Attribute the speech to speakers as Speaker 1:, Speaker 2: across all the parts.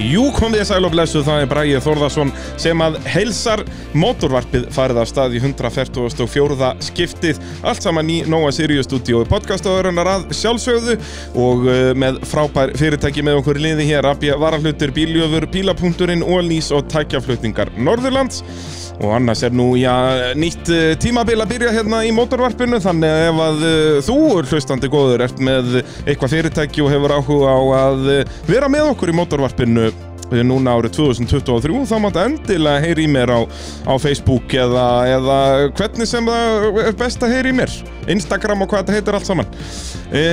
Speaker 1: Jú, kom þið sæl og blessu, það er Bræði Þórðarsson sem að heilsar mótorvarpið farið af stað í 144. skiptið allt saman í Nóa Sirius stúdíói podcastáðurinnar að sjálfsögðu og eh, með frábær fyrirtæki með okkur í liði hér, Abja Varahlutur, Bíljöfur, Bílapunkturinn, Ólnís og tækjaflutningar Norðurlands og annars er nú já, nýtt eh, tímabil að byrja hérna í mótorvarpinu þannig að ef að eh, þú hlustandi góður ert með eitthvað fyrirtæki og hefur áhuga á að eh, vera með okkur í mótorvarpinu eh, núna árið 2023 þá máttu endilega heyri í mér á, á Facebook eða, eða hvernig sem það er best að heyri í mér Instagram og hvað þetta heitir allt saman e,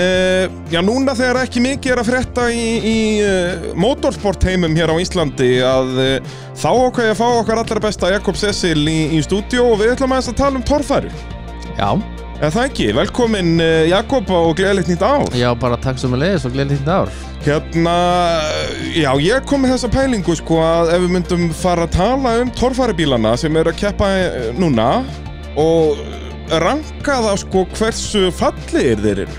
Speaker 1: Já, núna þegar ekki mikið er að frétta í, í e, motorsport heimum hér á Íslandi að e, þá okkar ég að fá okkar allra besta Jakob Sessil í, í stúdíó og við ætlum aðeins að tala um torfæri
Speaker 2: Já,
Speaker 1: Eða það ekki, velkomin eh, Jakob og gleðilegt nýtt ár
Speaker 2: já bara takk sem við leiðis og gleðið þitt ár
Speaker 1: Hérna, já ég kom með þessa pælingu sko að ef við myndum fara að tala um torfæribílana sem eru að keppa eh, núna og ranka það sko hversu fallegir þeir eru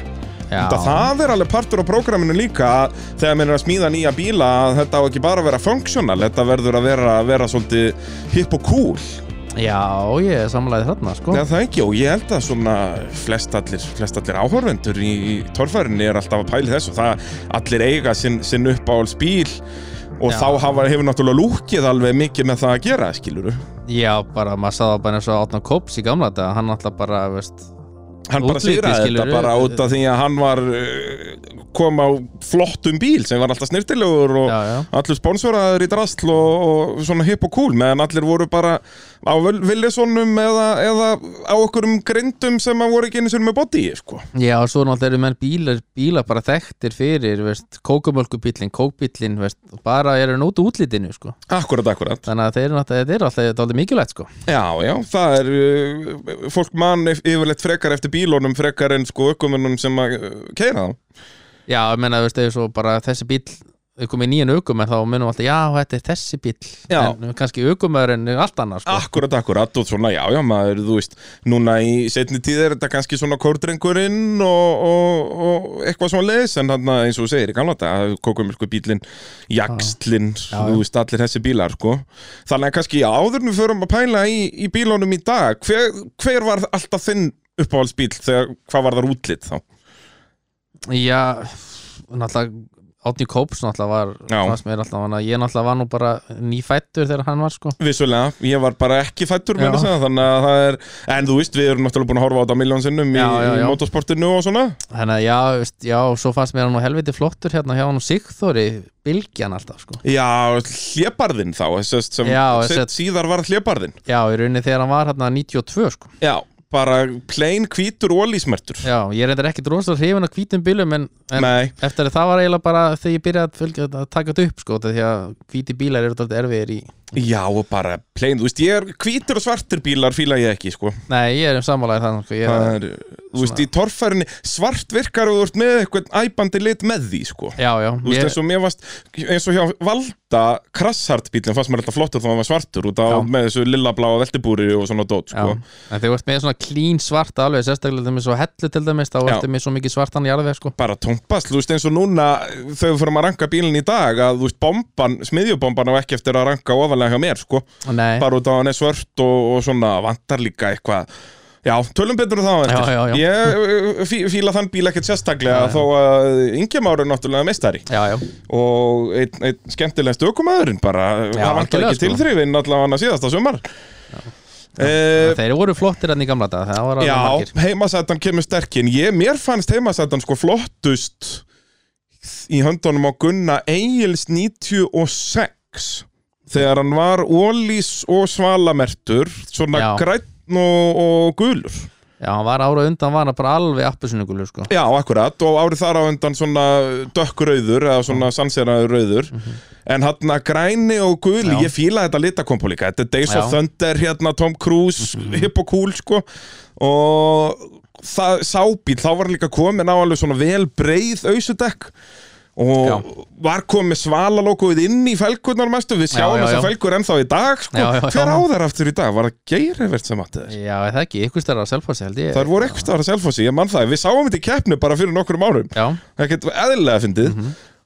Speaker 2: Já,
Speaker 1: Þetta það er alveg partur á prógraminu líka að þegar maður er að smíða nýja bíla að þetta á ekki bara að vera functional, þetta verður að vera, vera svolítið hipp og cool
Speaker 2: já ég er samlæðið þarna sko
Speaker 1: Nei, það ekki og ég held að svona flestallir flest áhorfendur í, í torfærinni er alltaf að pæli þessu það allir eiga sinn, sinn uppáhalds bíl og
Speaker 2: Já.
Speaker 1: þá hafa, hefur náttúrulega lúkið alveg mikið með það að gera, skiluru
Speaker 2: Já, bara maður sá það bara eins og Átna Kóps í gamla þetta Hann alltaf bara, veist
Speaker 1: hann bara
Speaker 2: Útlitið,
Speaker 1: sigraði þetta
Speaker 2: skilurðu.
Speaker 1: bara út af því að hann var uh, kom á flottum bíl sem var alltaf snirtilegur og
Speaker 2: Já, já.
Speaker 1: allir sponsoraður í drastl og, og svona hipp og cool meðan allir voru bara á villisónum eða, eða á okkurum grindum sem að voru ekki einu sinni með body sko.
Speaker 2: Já, svo náttúrulega eru menn bílar, bílar bara þekktir fyrir, veist, kókumölkubílinn, kókbílinn, veist, og bara eru nút úr útlitinu, sko.
Speaker 1: akkurat, akkurat
Speaker 2: Þannig að þeir eru náttúrulega, þetta er alltaf, þetta er alltaf mikilvægt, sko.
Speaker 1: Já, já, það er uh, fólk mann yf- yfirleitt frekar eftir bílunum frekar en sko ökumunum sem að uh, keira þá
Speaker 2: Já, ég meina, veist, ef svo bara þessi bíl, þau komið nýjan aukumenn, þá munum alltaf, já, þetta er þessi bíl.
Speaker 1: Já.
Speaker 2: En kannski aukumöður en allt annað, sko.
Speaker 1: Akkurat, akkurat og svona, já, já, maður, þú veist núna í setni tíð er þetta kannski svona kórdrengurinn og, og, og eitthvað svona leis en hann eins og þú segir í gamla þetta, kókum sko bílinn, jakslinn
Speaker 2: Já, já.
Speaker 1: þú veist, allir þessi bílar, sko þannig að kannski já, áður en við förum að pæla í, í bílunum í dag, hver, hver var alltaf þinn uppáhaldsbíl þegar hvað var þar útlit þá?
Speaker 2: Já, náttúrulega Átni Kóps náttúrulega var
Speaker 1: Já.
Speaker 2: fannst mér alltaf, þannig að ég náttúrulega var nú bara nýfættur þegar hann var sko
Speaker 1: Vissulega, ég var bara ekki fættur meina
Speaker 2: Já.
Speaker 1: segja, þannig að það er, en þú veist við erum náttúrulega búin að horfa á þetta miljón sinnum í,
Speaker 2: Já, já, já.
Speaker 1: í motorsportinu og svona
Speaker 2: Þannig að já, veist, já, svo fannst mér hann nú helviti flottur hérna hjá hann og Sigþóri Bilgjan alltaf sko
Speaker 1: Já, hlébarðin þá, þess sem
Speaker 2: Já,
Speaker 1: já,
Speaker 2: þessi-
Speaker 1: síðar var hlébarðin
Speaker 2: Já, í rauninni þegar hann var hérna 92 sko
Speaker 1: Já, bara plain hvítur ólísmertur
Speaker 2: Já, ég er reyndar ekkit rosalega hrifin á hvítum bílum en, en
Speaker 1: Nei,
Speaker 2: eftir að það var eiginlega bara þegar ég byrjaði að, fylgja, að taka þetta upp sko því að hvíti bílar eru þetta erfiðir í
Speaker 1: já, og bara plain, þú veist, ég er hvítur og svartur bílar fíla ég ekki, sko
Speaker 2: Nei, ég er um sammálaðið þannig sko ég,
Speaker 1: Það er, þú veist, í torfærinni svart virkar og þú ert með eitthvað æbandi lit með því, sko
Speaker 2: Já, já,
Speaker 1: Þú veist,
Speaker 2: ég,
Speaker 1: eins og mér varst, eins og hjá Valda krasshart bílinn fannst mér alltaf flottur þá hann var svartur út á
Speaker 2: Já.
Speaker 1: með þessu lilla bláa veltibúri og svona dót,
Speaker 2: Já,
Speaker 1: sko.
Speaker 2: en þegar þú ert með svona klín svart alveg, sérstaklega til dæmis og hellu til dæmis þá
Speaker 1: Já.
Speaker 2: ertu með svo mikið svartan jarðveg sko
Speaker 1: Bara tómpast, þú veist, eins og núna þegar við fyrir að ranka bílinn í dag að, þú veist, bomban, smiðjubomban á ekki eftir að ranka ofanlega hjá mér, sko.
Speaker 2: Nei,
Speaker 1: Bara út á hann er svört og, og svona vantar líka eitthvað. Já, tölum betur um það á eftir.
Speaker 2: Já, já, já.
Speaker 1: Ég uh, fí, fíla þann bíl ekkert sérstaklega þó að Ingemár er náttúrulega meistari.
Speaker 2: já, já,
Speaker 1: og einn ein, skemmtilegst ökumæðurinn bara,
Speaker 2: Já,
Speaker 1: það vantar
Speaker 2: algjörlega,
Speaker 1: ekki
Speaker 2: sko.
Speaker 1: tilþrifin allavega síðasta sumar Eh,
Speaker 2: þeir voru flottir enn í gamla dag það var alveg
Speaker 1: Já,
Speaker 2: margir
Speaker 1: heimasætan kemur sterkinn ég, mér fannst heimasætan sko flottust í höndunum á Gunna Egil's 96 þegar hann var ólís og svalamertur svona
Speaker 2: Já.
Speaker 1: grænn og, og gulur
Speaker 2: Já, hann var ára undan, var hann bara alveg appusunugulur sko
Speaker 1: Já, akkurat, og árið þar á undan svona dökkrauður eða svona sanseraður rauður en hann að græni og guli,
Speaker 2: Mhm. Já.
Speaker 1: ég fíla þetta litakompo líka þetta er Days of
Speaker 2: Já. Mhm.
Speaker 1: Thunder, hérna Tom Cruise hipp og cool, sko og það, sábíl, þá var hann líka komin á alveg svona vel breið ausudekk og
Speaker 2: Já.
Speaker 1: var komið svalalókuð inn í felgurnar mestu, við
Speaker 2: Já,
Speaker 1: sjáum
Speaker 2: já,
Speaker 1: þess að
Speaker 2: já.
Speaker 1: felgur ennþá í dag, sko
Speaker 2: Já, já, já.
Speaker 1: hver á þær aftur í dag, var það geirivert sem að þetta
Speaker 2: Já, er það ekki, ykkur stærra að selfási held ég
Speaker 1: Það voru eitthvað stafar að selfósi, ég mann það, við sáum þetta í keppnu bara fyrir nokkrum árum
Speaker 2: Já, Mhm.
Speaker 1: ekkert eðlilega fyndið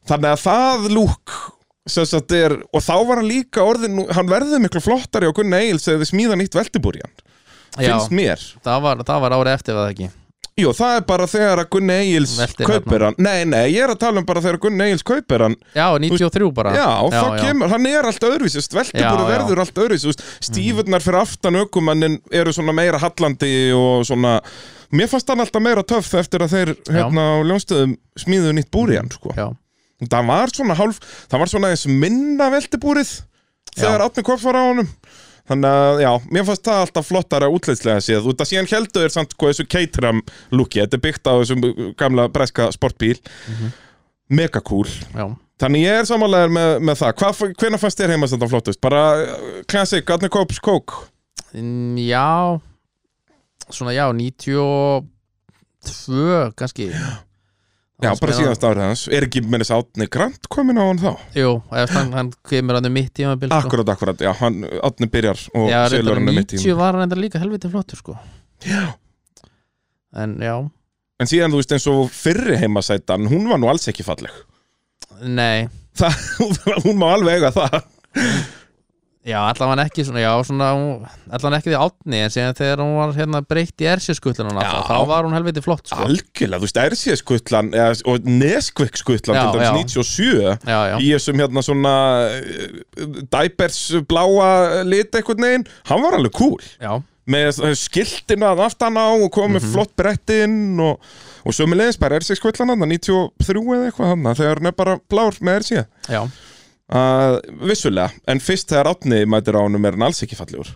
Speaker 1: þannig að það lúk sem sagt er, og þá var hann líka orðin, nú- hann verður miklu flottari á Gunni Egil þegar þið smíða nýtt veltibúrjan
Speaker 2: Já,
Speaker 1: finnst mér
Speaker 2: það var, það var árið eftir var það ekki
Speaker 1: Jú, það er bara þegar að Gunni Egils
Speaker 2: Veltir
Speaker 1: kaupir hann Nei, nei, ég er að tala um bara þegar að Gunni Egils kaupir hann
Speaker 2: Já, 93 bara
Speaker 1: Já, þá kemur, hann er allt öðruvísi Sveltibúri
Speaker 2: Já, Mhm. já.
Speaker 1: verður allt öðruvísi Stífurnar fyrir aftan aukumannin eru svona meira hallandi og svona Mér fannst hann alltaf meira töff eftir að þeir hérna á ljónstöðum smíðu nýtt búri hann sko.
Speaker 2: Já,
Speaker 1: Það var svona hálf, það var svona eins minna veltibúrið þegar
Speaker 2: Já.
Speaker 1: Átni Kopp var á honum Þannig að, já, mér fannst það alltaf flottara útleidslega séð út að síðan heldur þér samt hvað þessu Caterham lúki, þetta er byggt á þessum gamla breska sportbíl
Speaker 2: Mhm.
Speaker 1: mega cool,
Speaker 2: já,
Speaker 1: þannig ég er samanlegar með, með það, Hva, hvenær fannst þér heimast þetta flottust, bara uh, classic Átni Kopps kók,
Speaker 2: Mm, já Svona já, 92 kannski
Speaker 1: já,
Speaker 2: Hann
Speaker 1: bara
Speaker 2: spilaði-
Speaker 1: síðast árið hans er ekki með þess Átni Grant komin á hann þá
Speaker 2: Jú, eftir hann, hann kemur hann um mitt tímabil sko.
Speaker 1: akkurat, akkurat, já, hann, Átni byrjar og
Speaker 2: Já,
Speaker 1: selur
Speaker 2: reyndar
Speaker 1: hann um mitt
Speaker 2: 90
Speaker 1: tíma
Speaker 2: var hann reyndar líka helviti flottur sko En já,
Speaker 1: en síðan þú veist eins og fyrri heimasætan hún var nú alls ekki falleg
Speaker 2: nei
Speaker 1: það, hún má alveg eiga það
Speaker 2: Já, allavega ekki svona, já, svona allavega ekki því átni, en síðan þegar hún var hérna breytt í ersjöskullunum
Speaker 1: Já.
Speaker 2: þá var hún helviti flott sko.
Speaker 1: algjörlega, þú veist, RCS-skutlan og Neskvik-skutlan
Speaker 2: Já,
Speaker 1: til
Speaker 2: já.
Speaker 1: dæmis 97
Speaker 2: Já, já,
Speaker 1: í þessum hérna svona dæpers bláa lit einhvern veginn, hann var alveg cool
Speaker 2: já,
Speaker 1: með skiltina að aftan á og komið flott brettinn og, og sömulegis bara RCS-skutlan hann 93 eða eitthvað hann þegar hann er bara blár með RCS
Speaker 2: já
Speaker 1: uh, vissulega, en fyrst þegar átni mætir á honum er hann alls ekki fallegur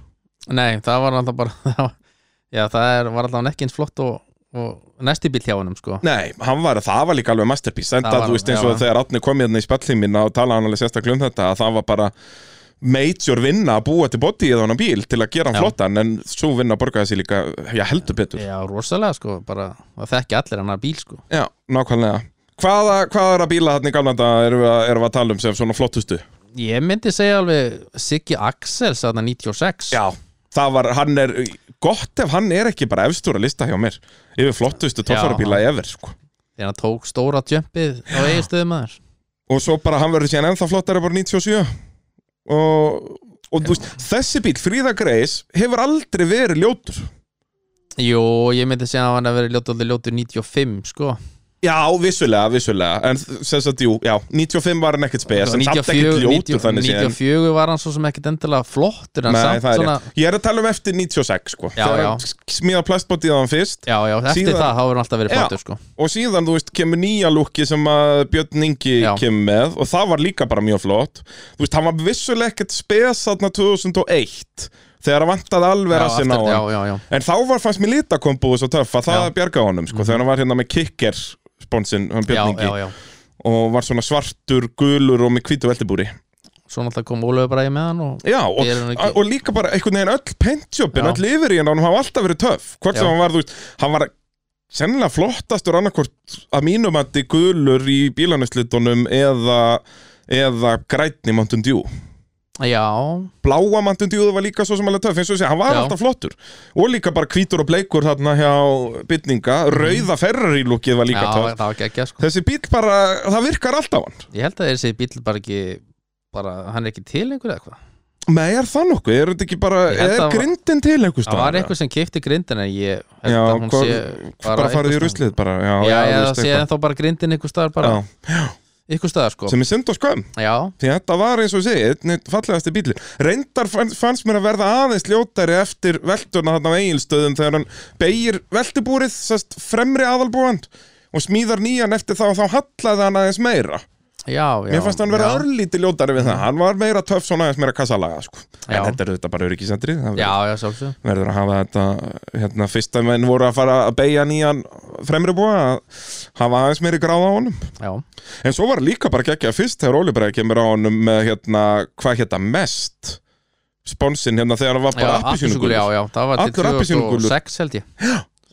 Speaker 2: Nei, það var alltaf bara Já, það er, var alltaf ekki eins flott og, og næsti bíl hjá hennum sko.
Speaker 1: Nei, hann var, það var líka alveg masterpiece enda,
Speaker 2: Það var
Speaker 1: þú veist,
Speaker 2: hann,
Speaker 1: eins
Speaker 2: já.
Speaker 1: og þegar Átni kom hérna í spjallhýmina og talaði hann alveg sérstaklega um þetta að það var bara major vinna að búa til body í þannig bíl til að gera hann
Speaker 2: Já.
Speaker 1: flottan en svo vinna borgaði sér líka, já, heldur betur Já,
Speaker 2: Já, rosalega sko, bara það þekki allir hennar bíl sko.
Speaker 1: nákvæmlega Hvaða, hvaða er að bíla þarna í galvanda erum við, að- erum við að tala um sem svona flottustu?
Speaker 2: Ég myndi segja alveg Siggi Axels þarna 96
Speaker 1: Já Það var, hann er, gott ef hann er ekki bara efstur að lista hjá mér yfir flottustu toffarabíla ever, sko
Speaker 2: þegar hann tók stóra tjömpið á eiginstöðum aður
Speaker 1: og svo bara hann verður síðan ennþá flottari bara 97 og, og þú veist, þessi bíl, Fríða Greis hefur aldrei verið ljótur
Speaker 2: Jú, ég myndi segja að hann að vera ljótur ljótur 95 sko
Speaker 1: já, vissulega, vissulega en sem sagt, jú, já, 95 var hann ekkert spes en samt ekkert
Speaker 2: 94,
Speaker 1: ljótur
Speaker 2: 90,
Speaker 1: þannig síðan
Speaker 2: 94 var hann svo sem ekkert endilega flottur en
Speaker 1: Nei,
Speaker 2: samt
Speaker 1: það er
Speaker 2: svona,
Speaker 1: rétt. Ég er að tala um eftir 96 sko.
Speaker 2: Já,
Speaker 1: Þegar
Speaker 2: já.
Speaker 1: sk- smíða plastbótið á hann fyrst
Speaker 2: Já, já, eftir
Speaker 1: Síðan-
Speaker 2: það hafa hann alltaf verið
Speaker 1: Já.
Speaker 2: flottur sko
Speaker 1: og síðan, þú veist, kemur nýja lúki sem að Björn Ingi
Speaker 2: Já.
Speaker 1: kemur með og það var líka bara mjög flott þú veist, hann var vissulega ekkert spes þarna 2001 þegar hann vantaði alveg
Speaker 2: já,
Speaker 1: rassinn á hann
Speaker 2: já, já, já,
Speaker 1: En þá var fannst mér litakombúið svo töff að það
Speaker 2: Já. Mhm.
Speaker 1: bjargaði honum, sko, þegar hann var hérna með kicker sponsinn, hann
Speaker 2: já,
Speaker 1: björningi
Speaker 2: já, já.
Speaker 1: og var svona svartur, gulur og með hvítu veltibúri.
Speaker 2: Svo náttúrulega kom Ólöf bara í með hann og
Speaker 1: Já, og,
Speaker 2: Ég er nú ekki-
Speaker 1: og líka bara einhvern veginn öll pentjópin,
Speaker 2: Já.
Speaker 1: öll yfir í hann, hann hafa alltaf verið töff, hvort sem
Speaker 2: Já.
Speaker 1: hann var, þú veist, hann var sennilega flottastur annarkvort að mínum að þið gulur í bílanuslitunum eða, eða grænni Mountain Dew.
Speaker 2: Já,
Speaker 1: Bláa Mountain Dew var líka svo sem alveg töff, eins og sé, hann var
Speaker 2: Já.
Speaker 1: alltaf flottur. Og líka bara hvítur og bleikur þarna hjá bytninga, rauða Ferrari-lúkið var
Speaker 2: Mhm. já
Speaker 1: líka töff.
Speaker 2: það var ekki ekki sko
Speaker 1: Þessi bíl bara, það virkar alltaf hann
Speaker 2: Ég held að þessi bíl bara ekki bara, hann er ekki til einhver eða hvað
Speaker 1: Nei, er það nokkuð? Er þetta ekki bara,
Speaker 2: Ég held
Speaker 1: er
Speaker 2: að-
Speaker 1: grindin til einhvers
Speaker 2: Það var eitthvað sem kipti grindin en ég held
Speaker 1: Já,
Speaker 2: að hún
Speaker 1: hvað-
Speaker 2: sé
Speaker 1: bara, bara farið í
Speaker 2: einhvers
Speaker 1: ruslið bara Já,
Speaker 2: staðar. Já,
Speaker 1: þú
Speaker 2: já,
Speaker 1: veist
Speaker 2: það sé
Speaker 1: eitthvað.
Speaker 2: ennþá bara grindin einhver staðar bara,
Speaker 1: Já,
Speaker 2: einhver staðar sko
Speaker 1: sem er synd og skömm
Speaker 2: Já,
Speaker 1: því þetta var eins og sé, einn fallegasti bíli reyndar fann- fannst mér að verða aðeins ljótari eftir velturna þarna á eigilstöðum þegar hann beigir veltubúrið sest, fremri aðalbúand og smíðar nýjan eftir það og þá hallaði hann aðeins meira
Speaker 2: já, já
Speaker 1: Mér fannst hann vera
Speaker 2: já.
Speaker 1: örlítið ljótari við það Hann var meira töff svona aðeins meira kassalaga sko. En
Speaker 2: Já.
Speaker 1: þetta er þetta bara öryggisendri Það
Speaker 2: Já,
Speaker 1: verður-
Speaker 2: já, sjálfsög
Speaker 1: verður að hafa þetta hérna, Fyrsta menn voru að fara að beigja nýjan Fremri búa að hafa aðeins meiri gráða á honum
Speaker 2: Já,
Speaker 1: En svo var líka bara geggja fyrst Þegar Óli Bræði kemur á honum með hérna, Hvað hérna mest Sponsin hérna þegar hann var
Speaker 2: já
Speaker 1: bara appisínugul
Speaker 2: appelsínugul, Já, já, það var
Speaker 1: Allur
Speaker 2: til
Speaker 1: appelsínugulur.
Speaker 2: 2006 held ég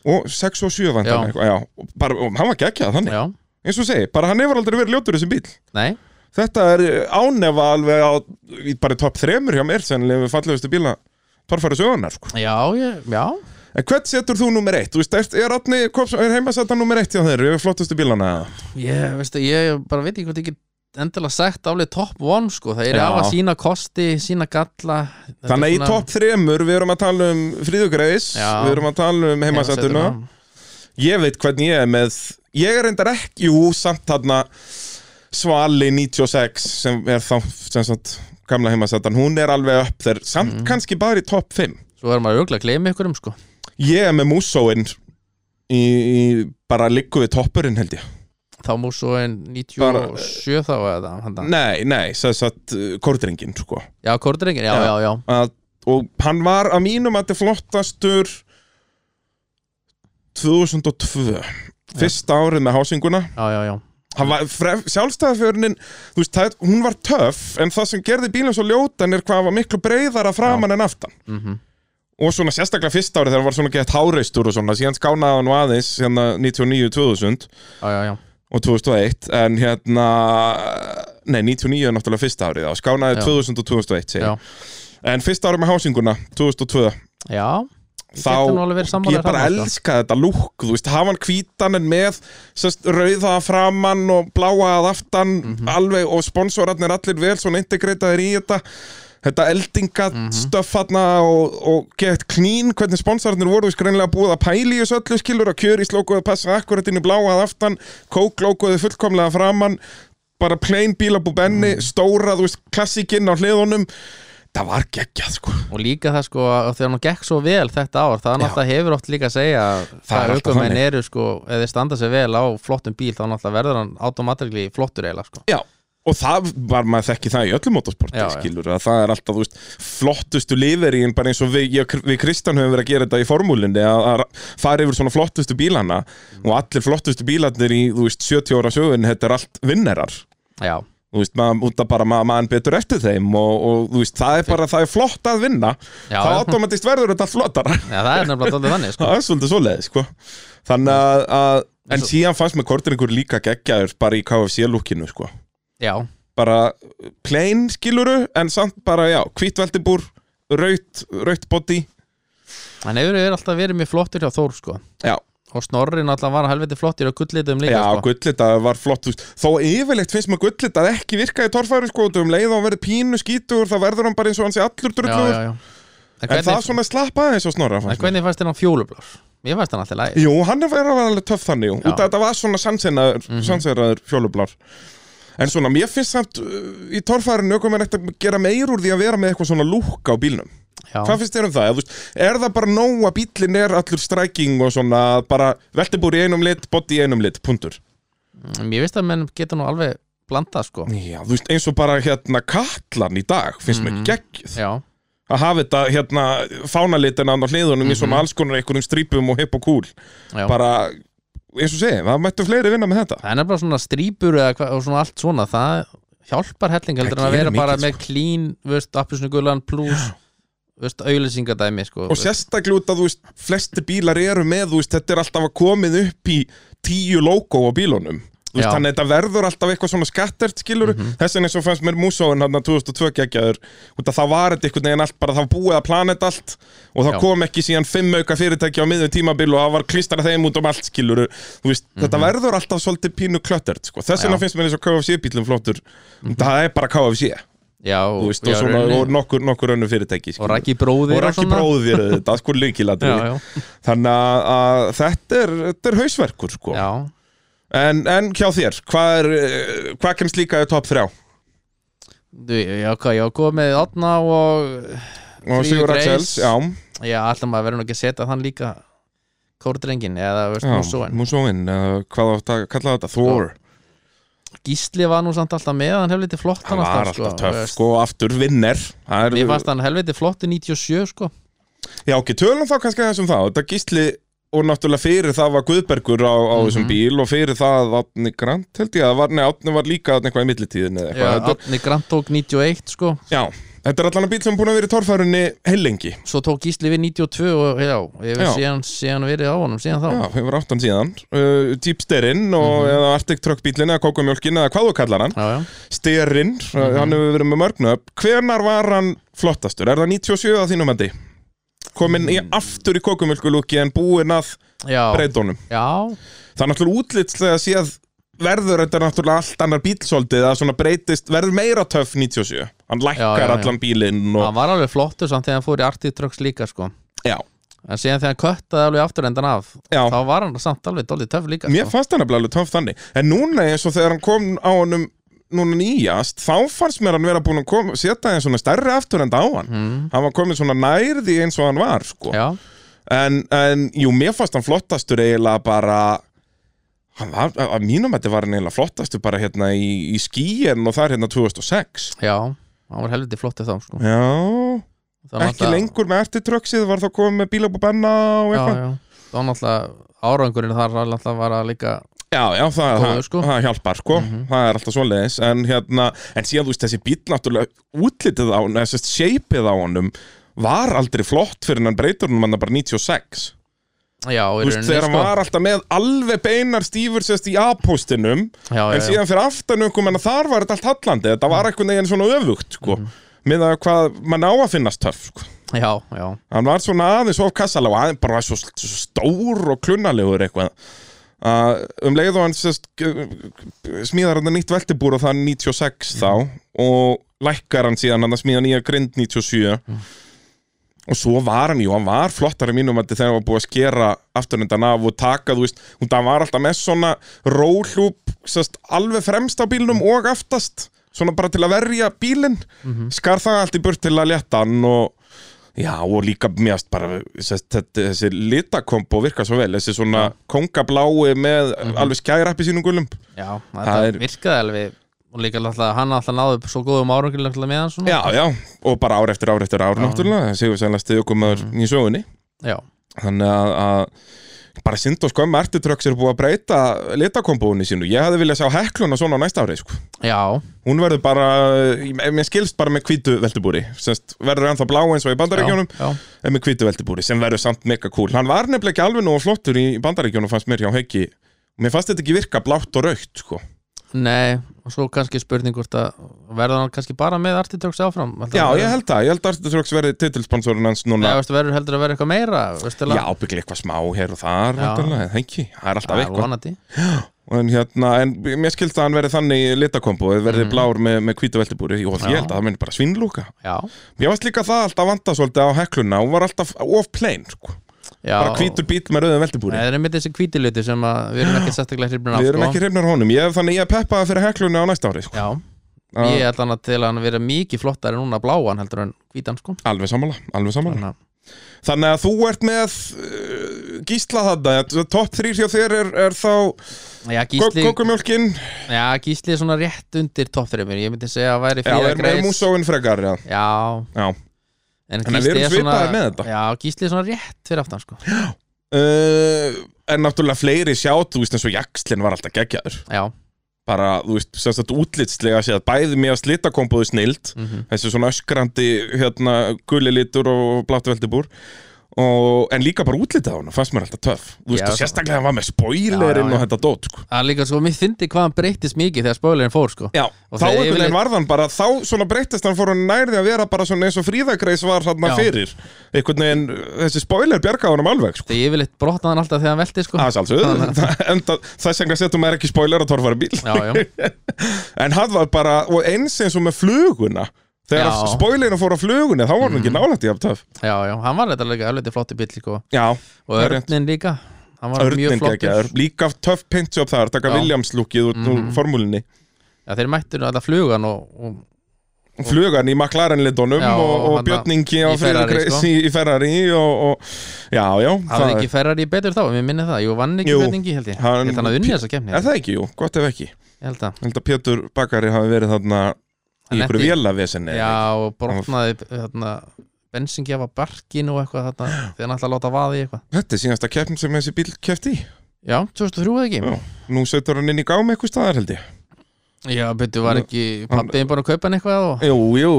Speaker 1: Og 6 og 7
Speaker 2: Já.
Speaker 1: vantan Og bara- og hann var geggjað þannig
Speaker 2: Já,
Speaker 1: Eins og segi, bara hann hefur aldrei verið ljótur í þessum bíl
Speaker 2: nei,
Speaker 1: Þetta er ánefa alveg á í bara topp þremur hjá mér sennilega við fallegustu bíla torfæri sögunar sko.
Speaker 2: já, ég, já
Speaker 1: En hvert setur þú nummer eitt? Þú veist, er, er, Árni Kops- er heimasetta nummer eitt hjá þeir yfir flottustu bílana? eða?
Speaker 2: Ég, veistu, ég bara veit ekki hvort ég get ekkit endilega sagt aflega top 1 sko, það er
Speaker 1: Já.
Speaker 2: af að sína kosti sína galla Þetta
Speaker 1: Þannig að
Speaker 2: er
Speaker 1: í topp þremur við erum að tala um fríðugreis,
Speaker 2: Já.
Speaker 1: við erum að tala um heimasætuna Ég veit hvernig ég er með, ég er reyndar ekki, jú, samt þarna Svali 96 sem er þá, sem sagt, gamla heimasætan, hún er alveg upp þér, samt kannski bara í topp 5
Speaker 2: Svo er maður auðvitað að gleyma ykkur um sko
Speaker 1: Ég er með músóinn í, í bara liggu við toppurinn held ég
Speaker 2: Þá mú svo en 97 þá eða handa.
Speaker 1: Nei, nei, sem sagt, kórdrengin, sko
Speaker 2: Já, kordringin, já,
Speaker 1: Já.
Speaker 2: já, já,
Speaker 1: að, og hann var að mínum að þetta flottastur 2002 fyrsta árið með hásinguna
Speaker 2: já, já, já.
Speaker 1: Hann var- fref- sjálfstæðafjörnin, þú veist, það, hún var töff en það sem gerði bílinn svo ljótan er hvað hann var miklu breyðara framan en aftan
Speaker 2: Mm
Speaker 1: og svona sérstaklega fyrsta árið þegar hann var svona gett háreistur og svona, síðan skánaði hann nú aðeins hérna 99-2000
Speaker 2: já, já, já.
Speaker 1: og 2001 en hérna, nei 99 er náttúrulega fyrsta árið þá, skánaði
Speaker 2: Já.
Speaker 1: 2000 og 2001
Speaker 2: Já.
Speaker 1: segir. en fyrsta árið með hásinguna 2002
Speaker 2: já. Ég
Speaker 1: Þá-
Speaker 2: geti nú alveg verið sammála
Speaker 1: ég bara
Speaker 2: þarna, sko.
Speaker 1: elska þetta lúk þú veist, hafa hann hvítan en með sest, rauða að framann og bláa að aftan
Speaker 2: Mhm.
Speaker 1: alveg og sponsorarnir allir vel svona integritaðir í þetta þetta eldingat
Speaker 2: Mhm.
Speaker 1: mm og, og gett klín hvernig sponsorarnir voru við skreinlega búið að pæli í þessu öllu skilur að kjöri slókuðu að passa akkurat inn í bláa að aftan kóklókuðu fullkomlega framann bara plain bílabú
Speaker 2: Mhm.
Speaker 1: benni stóra, þú veist, klassikinn á hliðunum það var geggjað sko
Speaker 2: Og líka það sko að þegar hann gekk svo vel þetta ár það er náttúrulega hefur oft líka að segja að
Speaker 1: er
Speaker 2: það
Speaker 1: alltaf
Speaker 2: aukumenn
Speaker 1: þannig.
Speaker 2: eru sko eða þeir standa sér vel á flottum bíl þá náttúrulega verður hann automatikli flottur eiginlega sko
Speaker 1: Já, og það var maður þekki það í öllum motorsporti,
Speaker 2: Já, já.
Speaker 1: skilur að það er alltaf, þú veist, flottustu liðveríin bara eins og við, ég, við Kristján höfum verið að gera þetta í formúlinni, að, að fara yfir svona flottustu bílana og allir flottustu bílarnir í, þú veist, 70 ára sögun þetta er allt vinnerar
Speaker 2: Já,
Speaker 1: þú veist, maður út að bara maður mann betur eftir þeim og, og þú veist, það er bara, það er flott að vinna
Speaker 2: Já,
Speaker 1: þá
Speaker 2: já.
Speaker 1: automatist verður þetta flottara
Speaker 2: Já það er nefnilega dálítið þannig sko
Speaker 1: það er svolítið svoleiðis, sko þannig að, að en síðan fannst mér kortringur líka geggjaður bara í KFC-lúkinu, sko
Speaker 2: Já,
Speaker 1: bara plain skiluru en samt bara, já, hvít veltibúr raut, raut body
Speaker 2: hann hefur verið alltaf verið mjög flottur hjá Þór sko
Speaker 1: já,
Speaker 2: og Snorri náttúrulega var helviti flottur og gullitum líka
Speaker 1: já
Speaker 2: sko
Speaker 1: gullitað var flott þú veist. þó yfirleitt finnst maður gullitað ekki virka í torfæru sko, og um leið og hann verið pínu skítur þá verður hann bara eins og hann sé allur
Speaker 2: já,
Speaker 1: drullur
Speaker 2: já, já. En,
Speaker 1: en það
Speaker 2: hvernig,
Speaker 1: svona slappa aðeins og snorra
Speaker 2: en
Speaker 1: fannst mér.
Speaker 2: hvernig fannst þennan fjólublár? Mér fannst hann alltaf læg
Speaker 1: Jú, hann er verið að vera alveg töff þannig jú.
Speaker 2: Já. Mhm.
Speaker 1: út að þetta var svona sannseraður mm fjólublár en svona, mér finnst samt uh, í torfærinu okkur með að gera meir úr því að vera með eitthvað svona lúk á bílnum Hvað finnst þér um það? Eða, þú veist, er það bara nóg að bílinn er allur striking og svona bara veltibúr í einum lit, body í einum lit, puntur?
Speaker 2: Mér finnst að menn geta nú alveg blandað sko
Speaker 1: Já, þú veist, eins og bara hérna kallan í dag finnst mér mm geggið
Speaker 2: Já,
Speaker 1: að hafa þetta hérna fánalitin á hliðunum í svona alls konar einhverjum strípum og hipp og kúl
Speaker 2: já
Speaker 1: bara, eins og segi, það mættu fleiri vinna með þetta
Speaker 2: það er bara svona strýpur eða hvað- og svona allt svona það hjálpar helling heldur
Speaker 1: Það
Speaker 2: en að
Speaker 1: gerir
Speaker 2: vera bara
Speaker 1: mikið, sko.
Speaker 2: með clean veist, appisnugulan plus veist, auðlýsingadæmi sko,
Speaker 1: og sérstaklega út að þú veist, flesti bílar eru með þú veist, þetta er alltaf að komið upp í tíu logo á bílunum Þú veist,
Speaker 2: Já. Mhm.
Speaker 1: þannig að þetta verður alltaf eitthvað svona skattert skilur mm -hmm. þess vegna eins og fannst mér músóin hann 2002 geggjaður, út að það var þetta einhvern veginn allt bara það var búið að planet allt og það
Speaker 2: Já.
Speaker 1: kom ekki síðan fimm auka fyrirtæki á miðum tímabil og það var klistara þeim út um allt skilur þú veist, þetta verður alltaf svolítið pínu klöttert sko. þess vegna
Speaker 2: Mhm. Já.
Speaker 1: finnst mér eins og KFC bílum flottur það er bara KFC
Speaker 2: já,
Speaker 1: þú veist, og,
Speaker 2: já,
Speaker 1: svona,
Speaker 2: rauninni.
Speaker 1: og nokkur, nokkur önnu fyrirtæki
Speaker 2: og
Speaker 1: skilurðu
Speaker 2: rækki bróðir
Speaker 1: og Raki
Speaker 2: svona.
Speaker 1: bróðir þetta sko
Speaker 2: já,
Speaker 1: líkilatri
Speaker 2: já,
Speaker 1: þannig að, að þetta, er, þetta er hausverkur sko.
Speaker 2: já.
Speaker 1: en, en hjá þér hvað, er, eh, hvað kemst líka í top 3
Speaker 2: Du, já, hvað, já, komið átna og
Speaker 1: og
Speaker 2: Fríður
Speaker 1: Sigur
Speaker 2: Greis.
Speaker 1: Axels já,
Speaker 2: já, alltaf maður verður nú ekki að setja þann líka kórdrengin eða veist,
Speaker 1: já,
Speaker 2: nú svo en
Speaker 1: Musóin uh, hvað átt að kalla þetta, Thor
Speaker 2: Gísli var nú samt alltaf með, hann hefði flott
Speaker 1: hann var
Speaker 2: sko,
Speaker 1: alltaf töff,
Speaker 2: veist.
Speaker 1: sko, aftur vinner Það
Speaker 2: Mér
Speaker 1: er,
Speaker 2: fannst hann helviti flott í 97 sko
Speaker 1: já, ok, tölum þá kannski aðeins um það þetta gísli og náttúrulega fyrir það var Guðbergur á, á
Speaker 2: Mhm.
Speaker 1: þessum bíl og fyrir það Átni Grant held ég að var, nei, Átni var líka þarna eitthvað í millitíðinni eða
Speaker 2: Já,
Speaker 1: eitthvað. Þetta-
Speaker 2: Átni Grant tók 91 sko
Speaker 1: já, þetta er allan að bíl sem er búin að vera í torfærunni heilengi
Speaker 2: svo tók Gísli við 92 og já, ég
Speaker 1: Já.
Speaker 2: hef síðan, síðan verið á honum síðan þá
Speaker 1: Já, hefur átt hann síðan uh, Jeep Sterinn
Speaker 2: Mhm.
Speaker 1: og eða Arctic Truck bílinn eða kókumjólkin eða hvað þú kallar hann
Speaker 2: Já, já.
Speaker 1: Sterinn,
Speaker 2: Mhm.
Speaker 1: hann hefur verið með mörgnu upp Hvenar var hann flottastur? Er það 97 að þínum endi? Kominn í aftur í kókumjólkulúki en búinn að
Speaker 2: Mm. Já,
Speaker 1: breytónum
Speaker 2: já,
Speaker 1: Það er náttúrulega útlitslega séð verður þetta náttúrulega allt annar bíl svolítið að svona breytist, verður meira töff 97 hann lækkar
Speaker 2: já, já.
Speaker 1: allan bílinn og,
Speaker 2: Hann var alveg flottur samt þegar hann fór í Arctic Trucks líka sko
Speaker 1: já,
Speaker 2: En síðan þegar hann köttaði alveg afturendan af
Speaker 1: Já.
Speaker 2: Þá var hann samt alveg doldið töf líka
Speaker 1: mér
Speaker 2: sko.
Speaker 1: fannst hann nefnilega alveg töff þannig en núna eins og þegar hann kom á honum núna nýjast, þá fannst mér hann vera búin að kom, setja einn svona stærri afturenda á hann hann var komin svona nærði eins og hann var sko.
Speaker 2: Hmm. Já,
Speaker 1: en, en jú, mér fannst hann flottastur eiginlega bara hann var, að að mínum þetta var hann eiginlega flottastur bara hérna í, í skíin og það er hérna 2006
Speaker 2: já, hann var helviti flottur þá sko.
Speaker 1: já,
Speaker 2: Það var
Speaker 1: ekki
Speaker 2: náttúrulega-
Speaker 1: lengur með ertitröksið var þá komið með bíla búið benna og
Speaker 2: Já,
Speaker 1: eitthvað já,
Speaker 2: já, þá náttúrulega árangurinn þar var náttúrulega var að líka
Speaker 1: já, það,
Speaker 2: Góður,
Speaker 1: það,
Speaker 2: sko.
Speaker 1: það hjálpar sko það er alltaf svoleiðis en, hérna, en síðan þú veist þessi bíl náttúrulega útlitið á honum, þessi shapeið á honum var aldrei flott fyrir en hann breytur hann manna bara 96
Speaker 2: Já, í
Speaker 1: Þú veist,
Speaker 2: rauninni,
Speaker 1: þegar hann
Speaker 2: sko.
Speaker 1: var alltaf með alveg beinar stífur sérst í A-postinum en
Speaker 2: já, já, Mhm. já.
Speaker 1: síðan fyrir aftan okkur menna þar var þetta allt hallandi þetta var eitthvað neginn svona öfugt sko,
Speaker 2: Mhm.
Speaker 1: með að hvað mann á að finnast töff sko.
Speaker 2: já, já,
Speaker 1: hann var svona aðeins of kassalega og aðeins bara var svo, svo stór og klunnalegur eitthvað uh, um leið og hann sérst, g- g- smíðar hann nýtt veltibúr og það er 96 þá og lækkar hann síðan hann að smíða nýja grind 97 og svo var hann jú, hann var flottari mínum að þegar hann var búið að skera afturöndan af og taka, þú veist, hún það var alltaf með svona rólhjúp sérst, alveg fremst á bílnum og aftast svona bara til að verja bílinn skar það allt í burt til að létta hann og já, og líka mjögst bara sérst, þetta, þessi litakombo virka svo vel, þessi svona kongablái með alveg skærappi sínum gulum
Speaker 2: já
Speaker 1: Það
Speaker 2: þetta
Speaker 1: er-
Speaker 2: virkaði alveg og líka alltaf, hann alltaf náði upp svo góðum árangurinn alltaf með hann svona
Speaker 1: Já, já, og bara ár eftir ár eftir ár náttúrulega, sigur sænlega okkur í sögunni
Speaker 2: já,
Speaker 1: þannig að, að bara synd og skömmu ertitröks er búið að breyta litakombóinu sínu, ég hefði viljað sjá hekluna svona á næsta ári, sko
Speaker 2: já,
Speaker 1: hún verður bara, eh, mér skilst bara með hvítu veltibúri, semst verður ennþá blá eins og í bandaríkjónum,
Speaker 2: já,
Speaker 1: en með hvítu veltibúri sem verður samt mega cool, hann var nefnilega ekki alveg nú flottur í bandaríkjónum fannst mér hjá Heikki mér fannst þetta ekki virka blátt og raukt, sko
Speaker 2: nei og svo kannski spurning hvort að verður hann kannski bara með Artitrux áfram
Speaker 1: já, ég held það, ég held að ertitröks verði titilsponsorinn hans
Speaker 2: Nei,
Speaker 1: núna,
Speaker 2: veist, verður heldur að verður eitthvað meira veistu,
Speaker 1: já, byggli eitthvað smá hér og þar,
Speaker 2: Já.
Speaker 1: væntanlega, en Heikki, það er alltaf eitthvað
Speaker 2: vonandi
Speaker 1: en hérna, en mér skilst að hann verði þannig litakombo, verði blár með, með hvítu veltibúri og
Speaker 2: Já.
Speaker 1: ég held að það muni bara svinnlúka
Speaker 2: já,
Speaker 1: mér varst líka það alltaf vanda svolítið á hekluna hún var alltaf of plain, sko
Speaker 2: já
Speaker 1: bara hvítur bíl með rauðum
Speaker 2: Nei,
Speaker 1: veltibúri
Speaker 2: það er einmitt þessi hvítiluti sem að við erum ekki sérstaklega hrifnir af
Speaker 1: við erum
Speaker 2: sko.
Speaker 1: ekki hrifnar honum, ég, þannig ég peppaði fyrir hekluna á næsta ári, sko
Speaker 2: Já,
Speaker 1: Ah,
Speaker 2: ég held hann að til að hann vera mikið flottari núna bláan heldur en hvítan sko
Speaker 1: alveg sammála, alveg sammála
Speaker 2: Þannig að,
Speaker 1: þannig að þú ert með uh, gísla þarna, topp þrýr hjá þér er, er þá
Speaker 2: já,
Speaker 1: Gísli...
Speaker 2: gísli,
Speaker 1: kókumjólkin,
Speaker 2: já, gísli er svona rétt undir topp þreymur, ég myndi segja að væri
Speaker 1: já,
Speaker 2: fríða
Speaker 1: er með músóin frekar, já,
Speaker 2: Já,
Speaker 1: já.
Speaker 2: en
Speaker 1: En við
Speaker 2: gísli
Speaker 1: erum
Speaker 2: er svona
Speaker 1: svipaðir með þetta.
Speaker 2: Já, gísli er svona rétt fyrir aftan sko
Speaker 1: Uh, en náttúrulega fleiri sjátt, þú veist eins og jakslinn var alltaf geggjaður
Speaker 2: Já,
Speaker 1: bara, þú veist, sem sagt útlitslega séð bæði mér að slita komboðu snild
Speaker 2: mm
Speaker 1: þessi svona öskrandi, hérna, guli litur og blátt veldibúr og, en líka bara útlitið á hana, fannst mér alltaf töff þú veist,
Speaker 2: Já,
Speaker 1: og
Speaker 2: það-
Speaker 1: sérstaklega hann var með spoilerinn
Speaker 2: Já, já,
Speaker 1: og þetta dót, sko
Speaker 2: það er líka svo, mér fyndi hvað hann breyttist mikið þegar spoilerinn fór sko
Speaker 1: Já,
Speaker 2: Og
Speaker 1: þá
Speaker 2: þegar
Speaker 1: einhvern
Speaker 2: yfirleitt-
Speaker 1: veginn varð hann bara, þá svona breyttist hann fór hann nærði að vera bara svona eins og fríðagreis var hann
Speaker 2: Já.
Speaker 1: fyrir einhvern veginn, þessi spoiler bjargaði honum alveg, sko
Speaker 2: Þegar ég vil eitt brotnaði hann alltaf þegar hann velti sko
Speaker 1: Það er sjálfsögðu, enda- þess vegna setjum maður ekki spoiler að torfara bíl
Speaker 2: Já, já,
Speaker 1: En hann var bara, og eins eins og með fluguna Þegar
Speaker 2: Já. Mm.
Speaker 1: spoilerinn fór á fluguna, þá var hann ekki nálætt í aftöf
Speaker 2: já, já, hann var þetta alveg alveg flottur bíl sko
Speaker 1: Já,
Speaker 2: Og
Speaker 1: Það er rétt.
Speaker 2: örninn líka, hann var mjög
Speaker 1: örninn
Speaker 2: flottur
Speaker 1: geggjaður Líka töff paintjob þar, taka
Speaker 2: Já. Mm.
Speaker 1: Williams-lúkið út úr formúlinni
Speaker 2: Já, þeir mættur alltaf flugan og, og
Speaker 1: Flugan í McLaren-litunum
Speaker 2: Já,
Speaker 1: og, og
Speaker 2: hann-
Speaker 1: Björn Ingi á
Speaker 2: í Ferrari,
Speaker 1: Friðrik
Speaker 2: sko.
Speaker 1: í Ferrari og, og, Já, já,
Speaker 2: hafði ekki Ferrari betur þá, mér minni það, jú, vann ekki
Speaker 1: Jú,
Speaker 2: hverningi held ég, ég
Speaker 1: hann-
Speaker 2: held hann að unni þessa kemni
Speaker 1: Er það ekki, jú, gott ef ekki Ég
Speaker 2: ég held að,
Speaker 1: held að Pétur Bakari hafi verið þarna í
Speaker 2: Hann
Speaker 1: einhverju
Speaker 2: lenti-
Speaker 1: vélavesinni
Speaker 2: já, og brotnaði þarna, bensingjafa barkin og eitthvað þarna, þegar hann ætlaði að láta vaði í eitthvað
Speaker 1: Þetta er síðasta keppn sem þessi bíl kefti í
Speaker 2: já, 2003 eða ekki,
Speaker 1: Já. Nú setur hann inn í gám eitthvað staðar held ég
Speaker 2: já, betur var ekki pappiðin bara að kaupa hann eitthvað og,
Speaker 1: Jú, jú,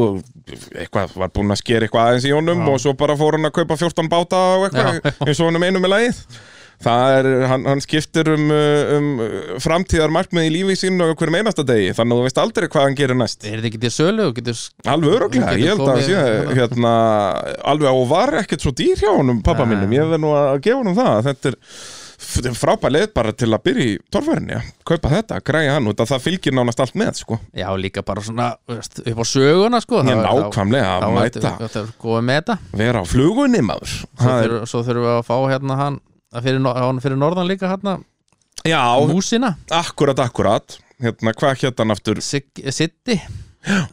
Speaker 1: eitthvað var búinn að skera eitthvað aðeins í honum
Speaker 2: Já.
Speaker 1: og svo bara fór hann að kaupa 14 báta og eitthvað
Speaker 2: Já,
Speaker 1: eins og honum einum með lagið Það er, hann, hann skiptir um, uh, um uh, framtíðar markmið í lífi sínu og hverjum einasta degi, þannig að þú veist aldrei hvað hann gerir næst
Speaker 2: er þetta ekki til sölu og getur,
Speaker 1: Alveg öruglega,
Speaker 2: Þú getur
Speaker 1: ég held að
Speaker 2: komið-
Speaker 1: sé hérna, alveg og var ekkert svo dýr hjá honum pappa
Speaker 2: Nei.
Speaker 1: mínum, ég verð nú að gefa honum það þetta er, frábær leið bara til að byrja í torfærinni kaupa þetta, græja hann út að það fylgir nánast allt með sko.
Speaker 2: Já, líka bara svona veist, upp á söguna sko
Speaker 1: ég
Speaker 2: þá-
Speaker 1: nákvæmlega
Speaker 2: þá-
Speaker 1: að
Speaker 2: þá ertu-
Speaker 1: mæta
Speaker 2: þá ertu góð með þetta
Speaker 1: vera á flugunni maður
Speaker 2: svo,
Speaker 1: Það er-
Speaker 2: þurfum, svo þurfum við að fá hérna hann að fyrir, nor- hann fyrir norðan líka hérna
Speaker 1: já,
Speaker 2: músina,
Speaker 1: akkurat, akkurat hérna, hvað hétt hann aftur
Speaker 2: Sitti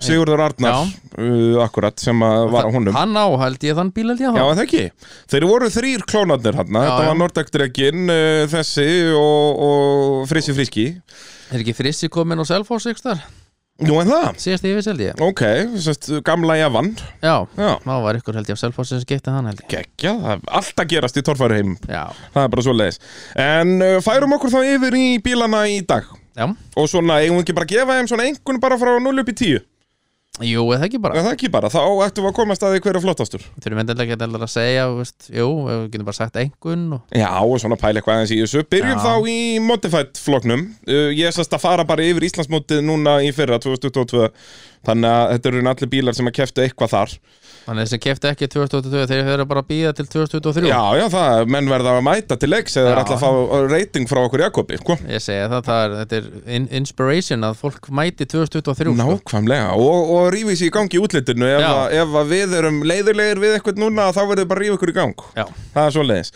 Speaker 1: Sigurður Arnar, uh, akkurat sem að var á honum
Speaker 2: hann á, held ég þann bíl held ég
Speaker 1: Já,
Speaker 2: að
Speaker 1: er það ekki. Þeir voru þrýr klónarnir hann,
Speaker 2: Já,
Speaker 1: þetta
Speaker 2: já.
Speaker 1: var Nordekdregin, uh, þessi og, og Frissi Friski.
Speaker 2: það er ekki frissi komin á Selfoss ykkur þar,
Speaker 1: Nú en það,
Speaker 2: síðast yfir held ég
Speaker 1: ok, sest, gamla Javan,
Speaker 2: já,
Speaker 1: já,
Speaker 2: þá var ykkur held ég á Selfoss sem skipti hann held ég
Speaker 1: geggja, það er allt að gerast í torfæruheim,
Speaker 2: já,
Speaker 1: það er bara svo leiðis. En uh, færum okkur þá yfir í bílana í dag
Speaker 2: já,
Speaker 1: og svona, eigum við ekki bara að gefa þeim svona einhvern bara frá 0 upp í 10.
Speaker 2: jú, eða ekki
Speaker 1: Er
Speaker 2: bara
Speaker 1: það ekki bara, þá ættum við að komast að því hver er flottastur.
Speaker 2: þurfum endilega ekki endilega að segja veist, jú, við getum bara sagt einhvern og...
Speaker 1: Já, og svona pæla eitthvað aðeins í þessu. Byrjum
Speaker 2: Já.
Speaker 1: þá í Modified floknum. Uh, ég er sérst að fara bara yfir Íslandsmótið núna í fyrra, 2022. Þannig að þetta eru allir bílar sem að keftu eitthvað þar.
Speaker 2: þannig að þessi kefti ekki 2022 þeir þeir eru bara að býða til 2023
Speaker 1: Já, já, það er menn verða að mæta til leiks eða
Speaker 2: Já.
Speaker 1: er alltaf að fá rating frá okkur Jakobi, sko.
Speaker 2: ég segja það, það er, þetta er in inspiration að fólk mæti 2023 sko.
Speaker 1: Nákvæmlega, og, og rífið sér í gangi í útlitinu ef,
Speaker 2: Já.
Speaker 1: að, ef að við erum leiðurlegir við eitthvað núna þá verður bara að rífa ykkur í gang
Speaker 2: Já.
Speaker 1: Það er svo leiðis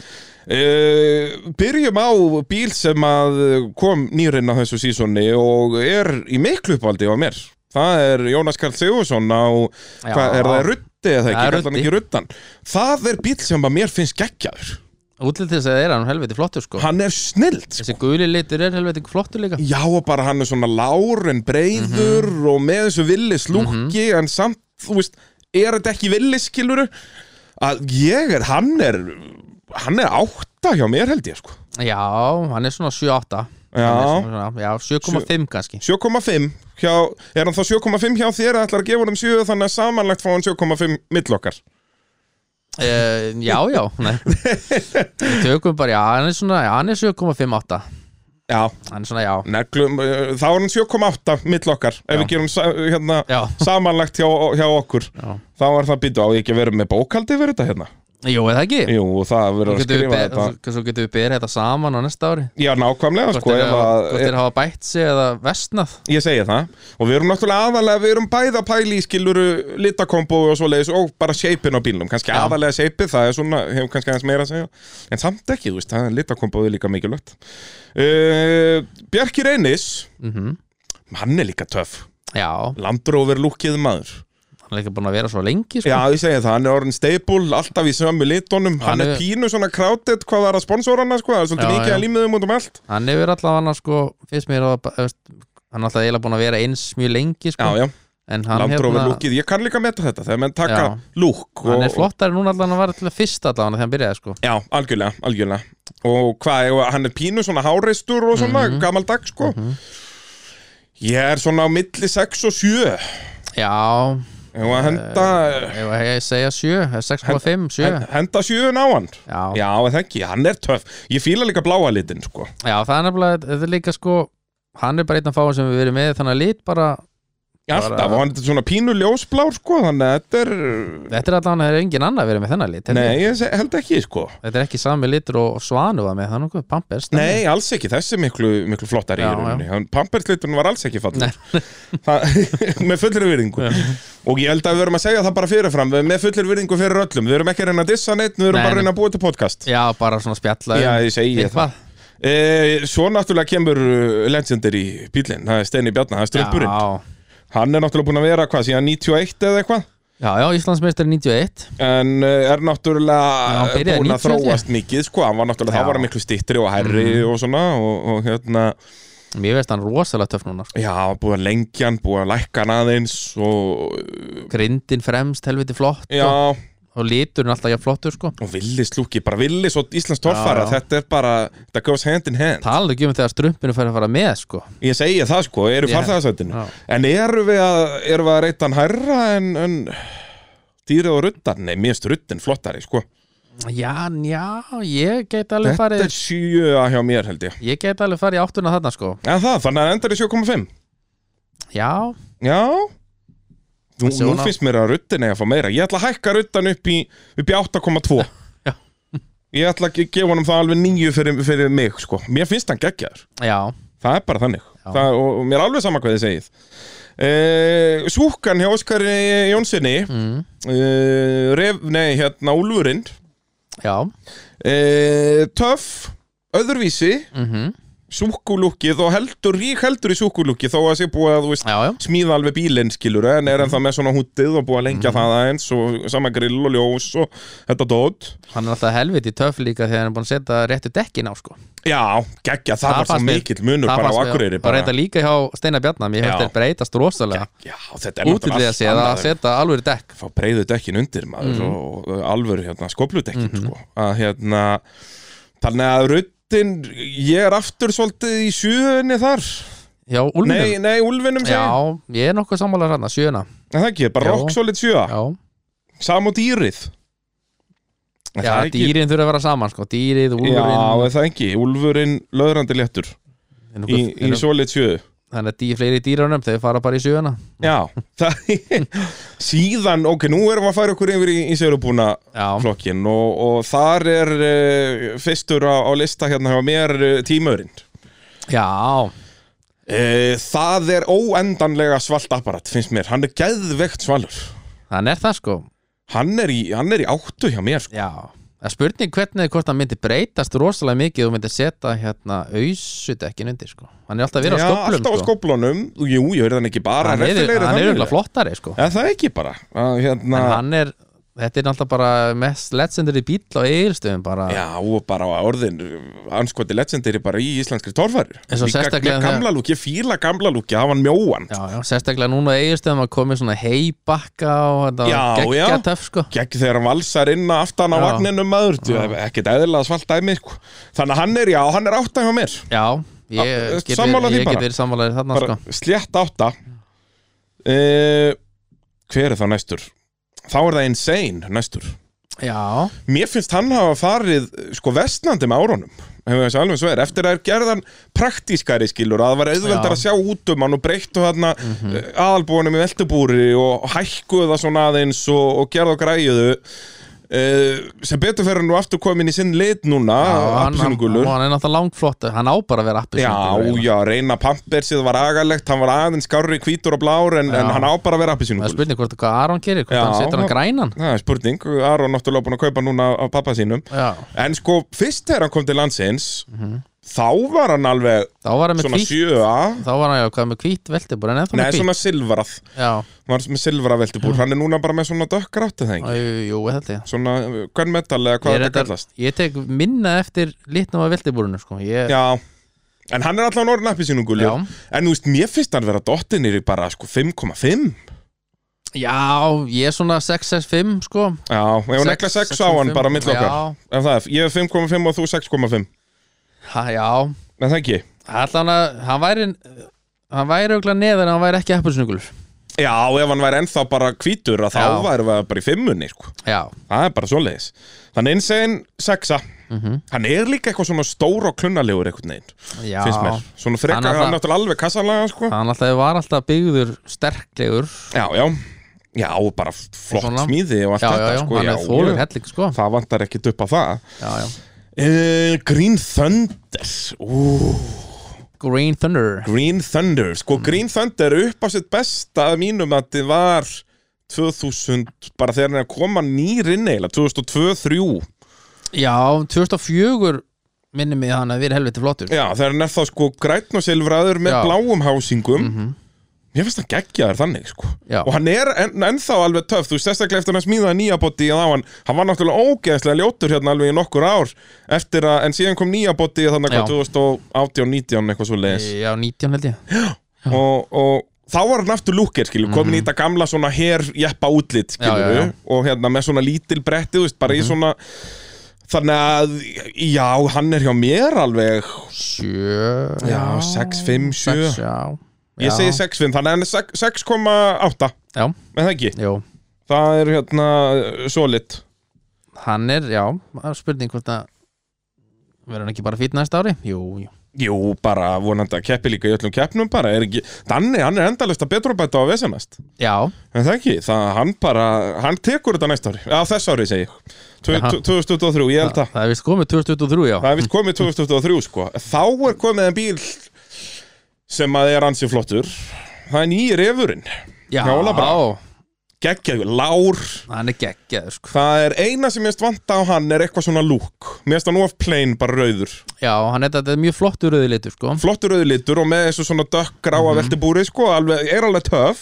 Speaker 1: Byrjum á bíl sem að kom nýrinn á þessu sísoni og er í miklu uppaldi á mér Það er Jónas Karl Sigursson á,
Speaker 2: Já.
Speaker 1: hvað er það, Ruddi eða ekki,
Speaker 2: Það er
Speaker 1: kallar hann
Speaker 2: Ruddi.
Speaker 1: ekki Ruddan Það er bíl sem að mér finnst geggjaður
Speaker 2: útlitið þess að er hann helviti flottur sko
Speaker 1: Hann er snillt
Speaker 2: þessi guli litur er helviti flottur líka
Speaker 1: Já og bara hann er svona lár en breyður
Speaker 2: Mhm.
Speaker 1: og með þessu villis lúki en samt, þú veist, er þetta ekki villis skiluru? Að ég er, hann er, hann er átta hjá mér held ég sko
Speaker 2: já, hann er svona 7-8
Speaker 1: Já.
Speaker 2: Hann er svona- svona- já, 7,5 kannski
Speaker 1: 7,5 hjá, er hann þá 7,5 hjá þér eða ætlar að gefa hann 7 þannig að samanlagt fá hann 7,5 millokkar
Speaker 2: uh, já, já, nei við tökum bara, já, hann er svona já, hann er 7,58
Speaker 1: Já,
Speaker 2: hann er svona, já,
Speaker 1: neglum, eh, þá er hann 7,8 millokkar ef
Speaker 2: Já.
Speaker 1: við gerum sa- hérna,
Speaker 2: já,
Speaker 1: samanlagt hjá, hjá okkur
Speaker 2: já.
Speaker 1: þá er það býtu á ég ekki að vera með bókaldi fyrir þetta hérna
Speaker 2: jú, eða ekki
Speaker 1: Jú, og það verður
Speaker 2: Svo
Speaker 1: að
Speaker 2: getum við
Speaker 1: skrifa
Speaker 2: ber-
Speaker 1: þetta
Speaker 2: svo- svo getum við berið þetta saman á næsta ári
Speaker 1: Já, nákvæmlega,
Speaker 2: hvort
Speaker 1: sko,
Speaker 2: er
Speaker 1: ef að,
Speaker 2: hvort er að hafa bætt sig eða vestnað
Speaker 1: ég segi það og við erum náttúrulega aðalega, við erum bæða pæli í skiluru litakombo og svoleiðis og bara shapein á bílnum, kannski
Speaker 2: Já.
Speaker 1: aðalega shapeið, það er svona, hefur kannski aðeins meira að segja en samt ekki, þú veist, það er litakomboð er líka mikilvægt uh, Bjarki Reynis
Speaker 2: mm
Speaker 1: Mhm. hann er líka töff,
Speaker 2: já,
Speaker 1: landróver lúkið maður
Speaker 2: hann er ekki búin að vera svo lengi sko.
Speaker 1: Já, ég segi það, hann er orðin stable, alltaf í sömu litunum hann,
Speaker 2: Hann
Speaker 1: er
Speaker 2: er-
Speaker 1: pínu svona crowded hvað var að sponsorana, sko, það er svolítið
Speaker 2: Já,
Speaker 1: mikið
Speaker 2: já.
Speaker 1: að límiðum út um allt
Speaker 2: hann hefur allavega hann sko, fyrst mér að veist, hann er alltaf eiginlega búin að vera eins mjög lengi sko,
Speaker 1: Já, já,
Speaker 2: en hann,
Speaker 1: landróver
Speaker 2: hérna,
Speaker 1: lúkið, ég kann líka meta þetta þegar menn taka
Speaker 2: Já.
Speaker 1: lúk
Speaker 2: hann er
Speaker 1: sko, og-
Speaker 2: flottari núna allavega en hann var til að fyrst allavega þegar hann byrjaði sko.
Speaker 1: Já, algjörlega, algjörlega Og hvað, ef hann er pínu svona háreistur og svona,
Speaker 2: Mhm.
Speaker 1: mm gammaldags sko Ég er svona á milli 6 og 7
Speaker 2: já,
Speaker 1: Ef að henda,
Speaker 2: ef að ég segja eh, 7 eða 6,5, 7
Speaker 1: uh, henda 7 á hann
Speaker 2: já, já.
Speaker 1: Já, en það ekki, hann er töff Ég fíla líka bláa litin sko
Speaker 2: það er nefnilega, þetta er líka sko hann er bara einn af fáin sem við verið með þannig að lit bara,
Speaker 1: Alltaf,
Speaker 2: Bara-
Speaker 1: og hann er svona pínu ljósblár sko Þannig að þetta er,
Speaker 2: þetta er allavega, það er engin annar verið með þennan lit, held
Speaker 1: nei,
Speaker 2: ég.
Speaker 1: ég se- held ekki sko
Speaker 2: þetta er ekki sami litur og, og svanu var með, það er nokkuð pampers
Speaker 1: Nei, alls ekki, þessi er miklu, miklu flottari í
Speaker 2: Já,
Speaker 1: rauninni Hann- Pampersliturinn var alls ekki fallur Það- Með fullir virðingu Og ég held að við verum að segja það bara fyrirfram við- Með fullir virðingu fyrir öllum Við erum ekki að reyna að dissa neitt Við erum
Speaker 2: Nei,
Speaker 1: bara að
Speaker 2: nei.
Speaker 1: reyna að búa til podcast
Speaker 2: já, bara svona spjalla
Speaker 1: Já,
Speaker 2: um
Speaker 1: ég segi ég það
Speaker 2: eitthvað.
Speaker 1: e, Svo náttúrulega kemur uh, legendary bílinn Það er Steini Bjarnar, það er strumpurinn
Speaker 2: já,
Speaker 1: Hann er náttúrulega búin að vera hvað síðan 91 eða eitthvað
Speaker 2: já, já Íslandsmeistar 91
Speaker 1: En uh, er
Speaker 2: Já,
Speaker 1: náttúrulega
Speaker 2: hann byrjaði
Speaker 1: búin að
Speaker 2: 90, held ég.
Speaker 1: þróast mikið sko, hann var náttúrulega,
Speaker 2: Já. Mm.
Speaker 1: það var miklu stittri og herri og svona og, og hérna,
Speaker 2: Mér veist hann rosalega töff núna sko.
Speaker 1: Já, búið að lengja hann, búið að lækka hann aðeins og
Speaker 2: Grindin fremst, helviti flott
Speaker 1: já,
Speaker 2: og, og liturinn alltaf jafn flottur sko.
Speaker 1: og villis lúki, bara villis og Íslands torfara,
Speaker 2: Já, já.
Speaker 1: þetta er bara, þetta goes hand in hand.
Speaker 2: Talaðu ekki um þegar strumpinu fær að fara með sko.
Speaker 1: Ég segja það sko, eru
Speaker 2: Ég-
Speaker 1: farþæðasættinu.
Speaker 2: já.
Speaker 1: En eru við að, eru við að reyta hann hærra en, en dýrið og ruttan? Nei, mér finnst ruttin flottari sko.
Speaker 2: Já, já, ég get alveg
Speaker 1: Þetta
Speaker 2: farið
Speaker 1: er 7 hjá mér held ég.
Speaker 2: Ég get alveg farið í áttuna þarna sko.
Speaker 1: En það, þannig að það endar í 7,5.
Speaker 2: Já,
Speaker 1: Já. Nú,
Speaker 2: Þessi
Speaker 1: nú
Speaker 2: hún á-
Speaker 1: finnst mér að ruttin eigi að fá meira. Ég ætla að hækka ruttan upp í, upp í 8,2.
Speaker 2: Já.
Speaker 1: Ég ætla að ge- gefa honum það alveg nýju fyrir, fyrir mig sko. Mér finnst hann geggjaður
Speaker 2: Já,
Speaker 1: Það er bara þannig
Speaker 2: Já.
Speaker 1: það, og, og mér er alveg sama hvað þið segið e, Súkan hjá Óskari Jónssoni mm.
Speaker 2: mm,
Speaker 1: Ref, nei, hérna Úlfurinn
Speaker 2: já
Speaker 1: e, Töff Öðruvísi,
Speaker 2: mm
Speaker 1: súkulúkið og heldur, rík heldur í súkulúkið þó að sé búið að þú veist
Speaker 2: Já, já,
Speaker 1: smíða alveg bílinn skilur en er ennþá með svona hútið og búið að
Speaker 2: Mhm.
Speaker 1: lengja það aðeins og sama grill og ljós og þetta dót
Speaker 2: hann er alltaf helviti töff líka þegar hann er búin að setja réttu dekkin á sko
Speaker 1: Já, geggja, það,
Speaker 2: Það
Speaker 1: var svo
Speaker 2: fannst mér-
Speaker 1: mikill munur bara á
Speaker 2: fannst mér-
Speaker 1: Akureyri
Speaker 2: Og
Speaker 1: bara.
Speaker 2: reynda líka hjá Steinar Bjarnar, mér
Speaker 1: Já.
Speaker 2: finnst þeir breytast rosalega
Speaker 1: Já, þetta er
Speaker 2: Útildið að Mhm. séð að
Speaker 1: annað en
Speaker 2: setja alveg dekk
Speaker 1: fá breyðu dekkin undir maður og, og alvöru hérna, skopludekkin
Speaker 2: Mhm.
Speaker 1: sko. að hérna þannig að ruttin, ég er aftur svolítið í sjöunni þar
Speaker 2: Já,
Speaker 1: nei,
Speaker 2: úlminum
Speaker 1: nei, úlfinum segir
Speaker 2: Já, ég er nokkuð sammála hann að sjöna
Speaker 1: En það ekki, bara
Speaker 2: Já.
Speaker 1: rock solid sjöa,
Speaker 2: Já,
Speaker 1: sam og dýrið En
Speaker 2: já
Speaker 1: það er ekki-
Speaker 2: dýrin þurfa að vera saman sko Dýrið,
Speaker 1: Já,
Speaker 2: úlurinn
Speaker 1: er það ekki, úlfurinn löðrandi léttur í, í solid sjöu
Speaker 2: Þannig að dý, fleiri dýrunum, þau fara bara í sjöna
Speaker 1: Já, það síðan, ok, nú erum við að færa okkur yfir í, í sérubúna
Speaker 2: Já,
Speaker 1: flokkin og, og þar er uh, fyrstur á, á lista hérna hjá mér uh, tímaurinn
Speaker 2: já,
Speaker 1: uh, það er óendanlega svalt apparat finnst mér, hann er geðvegt svalur
Speaker 2: þannig er það sko
Speaker 1: hann er í, hann er í áttu hjá mér sko.
Speaker 2: Já, það er spurning hvernig hvort hann myndi breytast rosalega mikið og myndi setja hérna ausudekkin undir sko Hann er alltaf verið á
Speaker 1: Já,
Speaker 2: skoplum
Speaker 1: alltaf á
Speaker 2: sko
Speaker 1: skoblunum, jú, ég verði hann ekki bara
Speaker 2: Hann er
Speaker 1: reffilegri þannig.
Speaker 2: auðvitað flottari sko
Speaker 1: En það er ekki bara að, hérna,
Speaker 2: En hann er, þetta er alltaf bara mest legendary bíl á eigirstöðum bara
Speaker 1: Já, og bara á orðin anskoti legendary bara í íslenskri torfari
Speaker 2: En svo sérstaklega þegar-
Speaker 1: Gamla lúk, ég fíla gamla lúk, ég hafa hann mjóan
Speaker 2: já, já, sérstaklega núna á eigirstöðum að komið svona heibakka og þetta
Speaker 1: Já,
Speaker 2: var
Speaker 1: já.
Speaker 2: geggja töff sko
Speaker 1: gegn þegar hann valsar inn aftan á
Speaker 2: Já.
Speaker 1: vagninum maður, þú veist, ekkert eðlilega svalt dæmi sko. þannig að hann er, já, hann er átta hjá mér
Speaker 2: Já,
Speaker 1: Ah,
Speaker 2: ég get
Speaker 1: sammála
Speaker 2: verið
Speaker 1: því
Speaker 2: ég
Speaker 1: bara.
Speaker 2: get verið sammálaðið þarna
Speaker 1: bara
Speaker 2: sko
Speaker 1: slétt átta uh, hver er þá næstur? þá er það insane næstur
Speaker 2: Já,
Speaker 1: mér finnst hann hafa farið eh, sko vestnandi með árunum hefur þessi alveg svo er, eftir að er gerðan praktískari skilur, að það var auðveldar
Speaker 2: Já. Mhm.
Speaker 1: að sjá út um hann og breyttu þarna mm aðalbúinum í veltubúri og hækkuðu það svona aðeins og, og gerðu og græjuðu uh, sem betur fyrir nú aftur komin í sinn lit núna,
Speaker 2: já hann, hann,
Speaker 1: appisungulur
Speaker 2: hann er náttúrulega langflottur Hann á bara að vera
Speaker 1: Já,
Speaker 2: appisungulur
Speaker 1: já, reyna pampersið var agalegt, hann var aðeins skárri, hvítur og blár en, en
Speaker 2: Já.
Speaker 1: hann á bara að vera
Speaker 2: Það er
Speaker 1: appisínugul
Speaker 2: spurning hvort hvað Aron gerir, hvort
Speaker 1: Já,
Speaker 2: hann setur hann
Speaker 1: já.
Speaker 2: grænan
Speaker 1: Það er spurning, Aron náttúrulega búin að kaupa núna af pappa sínum
Speaker 2: Já,
Speaker 1: En sko, fyrst þegar hann kom til landsins þá var hann alveg
Speaker 2: þá var hann með
Speaker 1: svona
Speaker 2: hvít
Speaker 1: 7A
Speaker 2: Þá var hann já, hvað með hvít veltibúr en ennþá
Speaker 1: Nei,
Speaker 2: með hvít
Speaker 1: svona silfrað
Speaker 2: Já,
Speaker 1: Var með silfrað veltubúr, hann er núna bara með svona dökkrátt eða
Speaker 2: Æ,
Speaker 1: engi
Speaker 2: jú, ég held ég
Speaker 1: Svona, hvern metal eða
Speaker 2: Ég
Speaker 1: hvað þetta
Speaker 2: reyndar-
Speaker 1: kallast
Speaker 2: Ég tek minna eftir litnum af veltibúrinu sko. ég,
Speaker 1: Já, en hann er allan orðin appisínugul
Speaker 2: Já.
Speaker 1: En þú veist, mér finnst hann vera dottinir í bara sko 5,5
Speaker 2: já, ég er svona 6-6-5 sko.
Speaker 1: Já, ef hún
Speaker 2: Sex-
Speaker 1: ekla 6
Speaker 2: sex
Speaker 1: á
Speaker 2: og
Speaker 1: hann
Speaker 2: fimm.
Speaker 1: bara mitt okkar
Speaker 2: Já.
Speaker 1: Ef það er, ég er 5,5 og þú 6,5
Speaker 2: ha, Já,
Speaker 1: Nei, það ekki
Speaker 2: allan að hann væri hann væri auðvitað neðar en hann væri ekki appelsnugul
Speaker 1: Já, ef hann væri ennþá bara hvítur að þá
Speaker 2: Já.
Speaker 1: væri við bara í fimmunni sko.
Speaker 2: Já,
Speaker 1: Það er bara svoleiðis Þannig innsegin sexa
Speaker 2: Mhm.
Speaker 1: Hann er líka eitthvað svona stór og klunnalegur einhvern veginn
Speaker 2: já
Speaker 1: Finnst mér Svona frekar,
Speaker 2: Hann
Speaker 1: hann,
Speaker 2: er það-
Speaker 1: náttúrulega alveg kassalega sko.
Speaker 2: Hann alltaf var alltaf byggður sterklegur
Speaker 1: Já, já Já, og bara flott
Speaker 2: Og svona.
Speaker 1: smíði og allt
Speaker 2: Já, já,
Speaker 1: þetta
Speaker 2: já,
Speaker 1: sko.
Speaker 2: hann er þólur helling sko.
Speaker 1: Það vantar ekkit upp á það
Speaker 2: já, já.
Speaker 1: uh, Green Thunder Ú,
Speaker 2: Green Thunder
Speaker 1: Green Thunder
Speaker 2: Mm.
Speaker 1: Sko, Green Thunder upp á sitt besta að mínum að þið var 2000, bara þegar hann er að koma nýr inn eiginlega, 2002-3
Speaker 2: Já, um 2004 minnum við hann að vera helviti flottur
Speaker 1: Já, þegar hann er þá sko grætn og silfraður með
Speaker 2: Já. Mhm.
Speaker 1: bláum hásingum Mér finnst hann geggjaður þannig sko
Speaker 2: Já.
Speaker 1: Og hann er en, ennþá alveg töff Þú sérstaklega eftir hann að smíða nýja bóti á hann Hann var náttúrulega ógeðslega ljótur hérna alveg í nokkur ár Eftir að, en síðan kom nýja bóti Þannig
Speaker 2: Já.
Speaker 1: að 2018-19 eitthvað svo leiðis
Speaker 2: Já, 19 held ég
Speaker 1: og, og þá var hann aftur lúkir skilur, komin í þetta gamla svona her jeppa útlit skilur,
Speaker 2: Mhm. Já, Mhm. já, já.
Speaker 1: og hérna með svona lítil bretti þú veist, bara í svona þannig að, já, hann er hjá mér alveg,
Speaker 2: Sjö
Speaker 1: já, 6, 5, 7
Speaker 2: Sex, já.
Speaker 1: Ég
Speaker 2: Já.
Speaker 1: segi 6,5, þannig að hann er sex- 6,8
Speaker 2: Já,
Speaker 1: En það ekki,
Speaker 2: jú
Speaker 1: það er hérna solid
Speaker 2: Hann er, já, það er spurning hvort að verður hann ekki bara fýtt næsta ári? Jú, jú
Speaker 1: Jú, bara vonandi að keppi líka í öllum keppnum bara, er ekki, Danni, hann er endalist að betra bæta á vesemast,
Speaker 2: Já,
Speaker 1: en það ekki það hann bara, hann tekur þetta næsta ári á þess ári segi ég Tv-
Speaker 2: Jaha.
Speaker 1: tv- 2023, ég held að
Speaker 2: það er vist komið 2023 já
Speaker 1: það er vilt komið 2023 sko þá er komið en bíl sem að er ansi flottur það er nýjir efurinn
Speaker 2: Já,
Speaker 1: Já, Óla bara. geggjaður, lár
Speaker 2: hann er geggjaður sko
Speaker 1: það er eina sem ég veist vanta á hann er eitthvað svona lúk mér veist hann of plain bara rauður
Speaker 2: Já, hann er þetta er mjög flottur rauðilitur sko
Speaker 1: flottur rauðlitur og með þessu svona dökk gráa mm sko, alveg, er alveg töf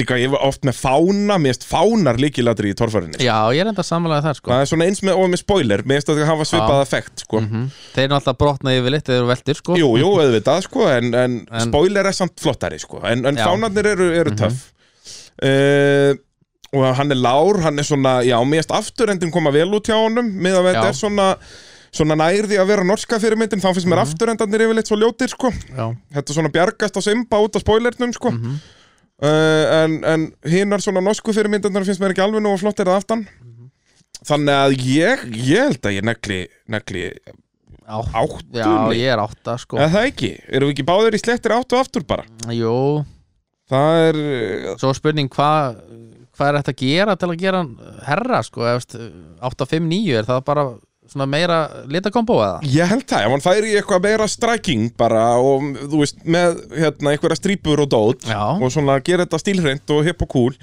Speaker 1: líka ég var oft með fána mér veist fánar líkilatri í torfærinni
Speaker 2: Já, ég er enda sammálaðið þar sko
Speaker 1: það er svona eins með, og með spoiler mér veist að það hafa svipað effekt sko.
Speaker 2: Þeir eru alltaf brotnaði yfir litt þegar þú veltir sko
Speaker 1: Jú, jú, auðvitað, sko, en, en,
Speaker 2: En-
Speaker 1: spoiler er samt flottari, sko, en, en
Speaker 2: Já. Mhm.
Speaker 1: fánarnir eru, eru töff. Uh, og hann er lár, hann er svona, já, mest afturendin koma vel út hjá honum, með að
Speaker 2: Já.
Speaker 1: þetta er svona, svona nærði að vera norska fyrirmyndin, þá finnst
Speaker 2: Mhm.
Speaker 1: mér afturendarnir yfirleitt svo ljótir, sko.
Speaker 2: Já,
Speaker 1: Þetta svona bjargast á simba út af spoilernum, sko.
Speaker 2: Mhm.
Speaker 1: uh, en, en hinar svona norsku fyrirmyndarnar finnst mér ekki alveg nú og flottir að aftan.
Speaker 2: Mhm.
Speaker 1: Þannig að ég, ég held að ég negli, negli
Speaker 2: já,
Speaker 1: áttunni.
Speaker 2: já ég er átta sko
Speaker 1: Eða það ekki, erum við ekki báðir í slettir átt og aftur bara
Speaker 2: Jú,
Speaker 1: Það er, eh,
Speaker 2: svo er spurning hvað hva er þetta að gera til að gera hann herra sko eða, veist, 8, 5, 9 er það bara svona meira litakombo eða?
Speaker 1: ég held það, ef hann færi í eitthvað meira striking bara og þú veist, með hérna einhverja strípur og dót
Speaker 2: Já, Mhm.
Speaker 1: og svona gera þetta stílhreint og hipp og cool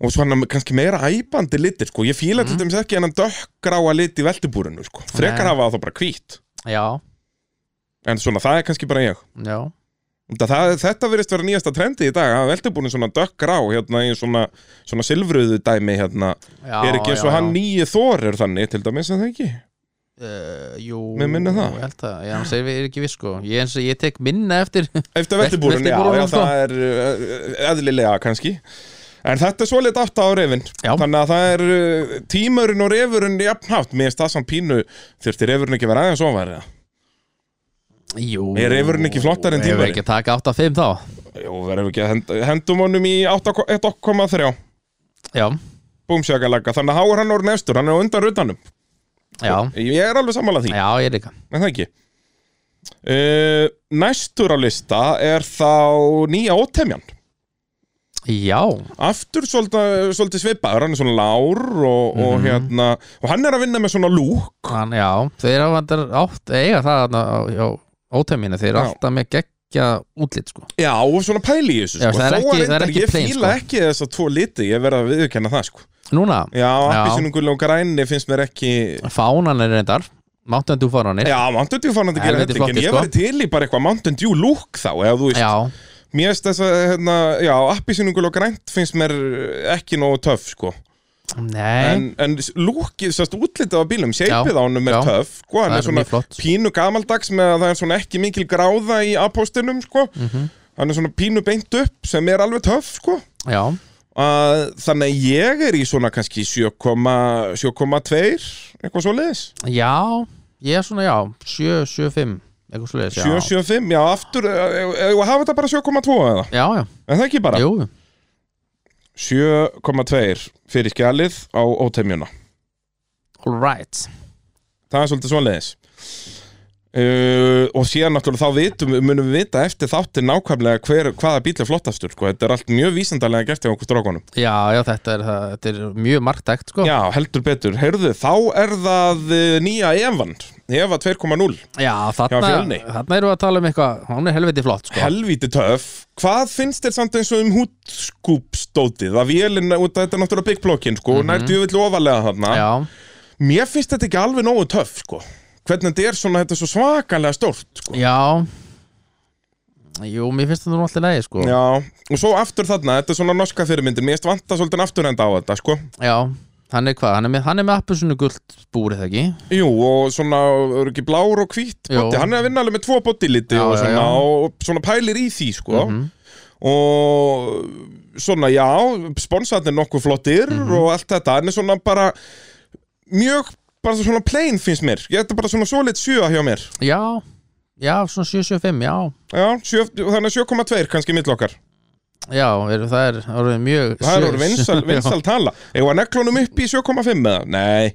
Speaker 1: og svona kannski meira æbandi litir sko, ég fíla til dæmis ekki en hann dökkgráa lit í veltibúrinu sko, frekar
Speaker 2: Mhm. Nei.
Speaker 1: hafa það þá bara hvít
Speaker 2: já,
Speaker 1: en svona það er kannski bara ég
Speaker 2: já
Speaker 1: Það, það, þetta verðist vera nýjasta trendi í dag að veltibúrin svona dökkgrá hérna í svona, svona silfruðu dæmi hérna
Speaker 2: Já,
Speaker 1: er ekki eins og
Speaker 2: já,
Speaker 1: hann
Speaker 2: já.
Speaker 1: nýju þor er þannig til dæmis að það ekki
Speaker 2: Uh, jú,
Speaker 1: Mig minnir það.
Speaker 2: ég held það, já, hann segir við er ekki viss sko ég, eins og ég tek minna eftir
Speaker 1: eftir veltibúrun, já,
Speaker 2: veltibúrunum,
Speaker 1: já,
Speaker 2: sko.
Speaker 1: það er uh, eðlilega kannski en þetta er svolítið átt á refin
Speaker 2: Já.
Speaker 1: þannig að það er uh, tímurinn og refurinn jafnhátt, mér finnst það samt pínu þurfti refurinn ekki að vera aðeins ofar eða?
Speaker 2: Jú,
Speaker 1: Er refurinn ekki flottari en
Speaker 2: eigum við
Speaker 1: tímarinn?
Speaker 2: ekki að taka 8-5 þá
Speaker 1: Jú, verðum við ekki að hend, hendum honum í 8,3
Speaker 2: Já,
Speaker 1: búmsjakalega, þannig að há er hann orðin efstur hann er á undan rutanum,
Speaker 2: já,
Speaker 1: ég er alveg sammála því
Speaker 2: já, ég líka
Speaker 1: en það ekki uh, næstur á lista er þá nýja ótemjan
Speaker 2: Já,
Speaker 1: aftur svolítið, eh, svolítið svipaður hann er svona lár og, og
Speaker 2: Mhm.
Speaker 1: hérna og hann er að vinna með svona lúk
Speaker 2: hann, já Þeir hafa þetta átt, eiga það þarna á- hjá ótemina, þeir eru
Speaker 1: Já.
Speaker 2: alltaf með geggja útlit sko
Speaker 1: já og svona pæli í þessu
Speaker 2: Já,
Speaker 1: sko.
Speaker 2: það er
Speaker 1: Þó
Speaker 2: ekki-
Speaker 1: að
Speaker 2: það er
Speaker 1: reyndar
Speaker 2: ekki
Speaker 1: ég
Speaker 2: plain,
Speaker 1: fíla
Speaker 2: sko.
Speaker 1: ekki þess að tvo liti ég verða að viðurkenna það sko
Speaker 2: Núna,
Speaker 1: já, appisinungull og græni finnst mér ekki
Speaker 2: fánan er reyndar Mountain Dew fánanir
Speaker 1: já, Mountain Dew fann hann að gera
Speaker 2: Helviti
Speaker 1: þetta ekki en ég
Speaker 2: flottir, sko.
Speaker 1: væri til í bara eitthvað Mountain Dew lúk þá eða þú veist
Speaker 2: já,
Speaker 1: mér finnst þess að hérna, já, appisinungull og grænt finnst mér ekki nógu töff sko
Speaker 2: nei
Speaker 1: en, en lúkið, sérst útlitið á bílum seipið á
Speaker 2: Já,
Speaker 1: honum er
Speaker 2: já.
Speaker 1: töff sko, hann
Speaker 2: Það
Speaker 1: er
Speaker 2: er
Speaker 1: svona
Speaker 2: mjög flott.
Speaker 1: pínu gamaldags með að það er svona ekki mikil gráða í apóstinum sko.
Speaker 2: Mhm.
Speaker 1: hann er svona pínu beint upp sem er alveg töff sko.
Speaker 2: Já,
Speaker 1: að, þannig að ég er í svona kannski 7,2 eitthvað svo leiðis
Speaker 2: já, ég er svona, já 7-7-5, eitthvað svolítið
Speaker 1: 7,75, já aftur e, og hafa þetta bara 7,2 eða
Speaker 2: Já, já,
Speaker 1: en það ekki bara,
Speaker 2: jú,
Speaker 1: 7,2 fyrir skjalið á ótemjuna
Speaker 2: all right
Speaker 1: það er svolítið svoleiðis uh, og síðan náttúrulega þá vitum, munum við vita eftir þáttir nákvæmlega hver, hvaða bíl er flottastur sko. þetta er allt mjög vísindalega gert í okkur strákonum
Speaker 2: Já, já, þetta er, það, þetta er mjög marktækt sko
Speaker 1: já, heldur betur, heyrðu, þá er það uh, nýja Evan Eva 2.0,
Speaker 2: Já, þarna,
Speaker 1: Já, Fjölni.
Speaker 2: þarna erum við að tala um eitthvað Hún er helviti flott sko
Speaker 1: helvíti töf hvað finnst þér samt eins og um hútskúpstótið að vélinn, út að þetta er náttúrulega big blokkin sko, mm -hmm. nærtu yfirlega ofalega þarna
Speaker 2: Mhm. Já,
Speaker 1: mér finnst þetta ekki alveg nógu töf sko. hvernig þetta er svona, þetta er svo svakalega stórt sko.
Speaker 2: já Jú, mér finnst þetta nú alltaf leið sko
Speaker 1: Já, og svo aftur þarna, þetta er svona norska fyrirmyndir Mér erst vanta svolítið afturenda á þetta, sko
Speaker 2: Já, hann er hvað, hann er með, hann er með appelsinu gult búrið ekki
Speaker 1: Jú, og svona, eru ekki blár og hvít
Speaker 2: Jú.
Speaker 1: bóti, Hann er að vinna alveg með tvo bótiliti
Speaker 2: Já,
Speaker 1: og,
Speaker 2: já, Mhm.
Speaker 1: svona,
Speaker 2: já.
Speaker 1: og svona pælir í því, sko Og svona, já, sponsarnir nokkuð flottir
Speaker 2: Mhm.
Speaker 1: og allt þetta En er svona bara mjög, bara svona plain finnst mér Ég þetta er bara svona svoleitt sjö hjá mér
Speaker 2: Já, já, svona 775, já
Speaker 1: Já, sjö, þannig að 7,2 kannski mill okkar
Speaker 2: Já, er, það er orðið mjög
Speaker 1: Það
Speaker 2: sjö-
Speaker 1: er orðið vinsal,
Speaker 2: sjö-
Speaker 1: vinsal tala Eða neglunum upp í 7,5 eða? Nei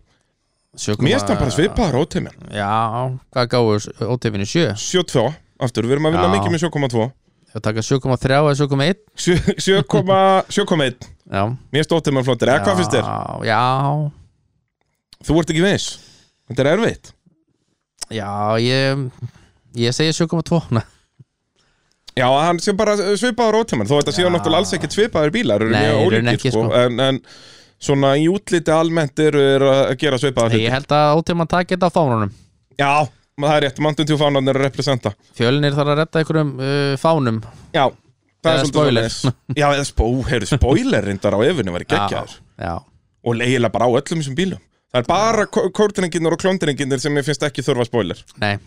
Speaker 2: Sökum
Speaker 1: Mér finnst hann
Speaker 2: að-
Speaker 1: bara svipaður á óteiminn
Speaker 2: Já, hvað gáðu ótefinu 7?
Speaker 1: 7,2 aftur, við erum að vinna
Speaker 2: Já.
Speaker 1: mikið með 7,2
Speaker 2: Það taka 7,3 eða 7,1
Speaker 1: Sjö- 7,1 Mér
Speaker 2: Já
Speaker 1: finnst óteiminn flottir, eða hvað finnst þér?
Speaker 2: Já, Já,
Speaker 1: Þú ert ekki viss, þetta er erfitt
Speaker 2: já, ég Ég segi 7,2 Nei,
Speaker 1: Já, hann sé bara svipaður óteiminn Þó þetta séu
Speaker 2: Já.
Speaker 1: náttúrulega alls ekkert svipaður bílar eru
Speaker 2: Nei,
Speaker 1: mjög
Speaker 2: í raun
Speaker 1: ólíkir,
Speaker 2: ekki,
Speaker 1: sko.
Speaker 2: sko.
Speaker 1: En, en svona í útliti almennt eru er að gera svipaða hluti
Speaker 2: Ég held að ótefinu taki þetta á fánunum
Speaker 1: Já, það er rétt, mandum til fánarnir að representa
Speaker 2: Fjölnir þarf að redda einhverjum uh, fánum
Speaker 1: Já, það
Speaker 2: Eða
Speaker 1: er
Speaker 2: spoiler.
Speaker 1: svolítið svoleiðis. Já, eða spó, heyrðu, spoiler reyndar á efinu var geggjaður
Speaker 2: Já,
Speaker 1: Og leiðilega bara á öllum þessum bílum Það er bara kórtringinir og klóndringinir sem ég finnst ekki þurfa spoiler
Speaker 2: nei,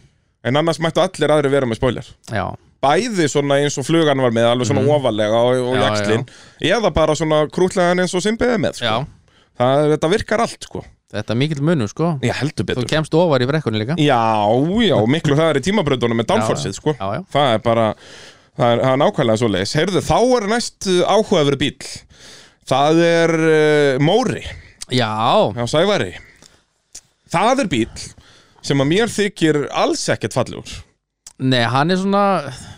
Speaker 1: En annars mættu allir aðri vera með spoiler
Speaker 2: já
Speaker 1: Bæði svona eins og flugan var með, alveg svona ofalega og, og
Speaker 2: Mhm. Já,
Speaker 1: jakslin Eða bara svona krútlegan eins og simbiði með sko.
Speaker 2: Já,
Speaker 1: það, Þetta virkar allt, sko
Speaker 2: þetta er mikill munur sko
Speaker 1: Já, heldur
Speaker 2: Þú
Speaker 1: betur
Speaker 2: kemst ofar í brekkunni líka
Speaker 1: Já, já, miklu það er í tímabröndunum með downforceið, sko
Speaker 2: Já, já,
Speaker 1: það er bara það er, það er nákvæmlega svo leiðis heyrðu þá er næst áhugaveru bíl það er uh, Móri
Speaker 2: já,
Speaker 1: á Sævari það er bíl sem að mér þykir alls ekkert fallegur
Speaker 2: nei, hann er svona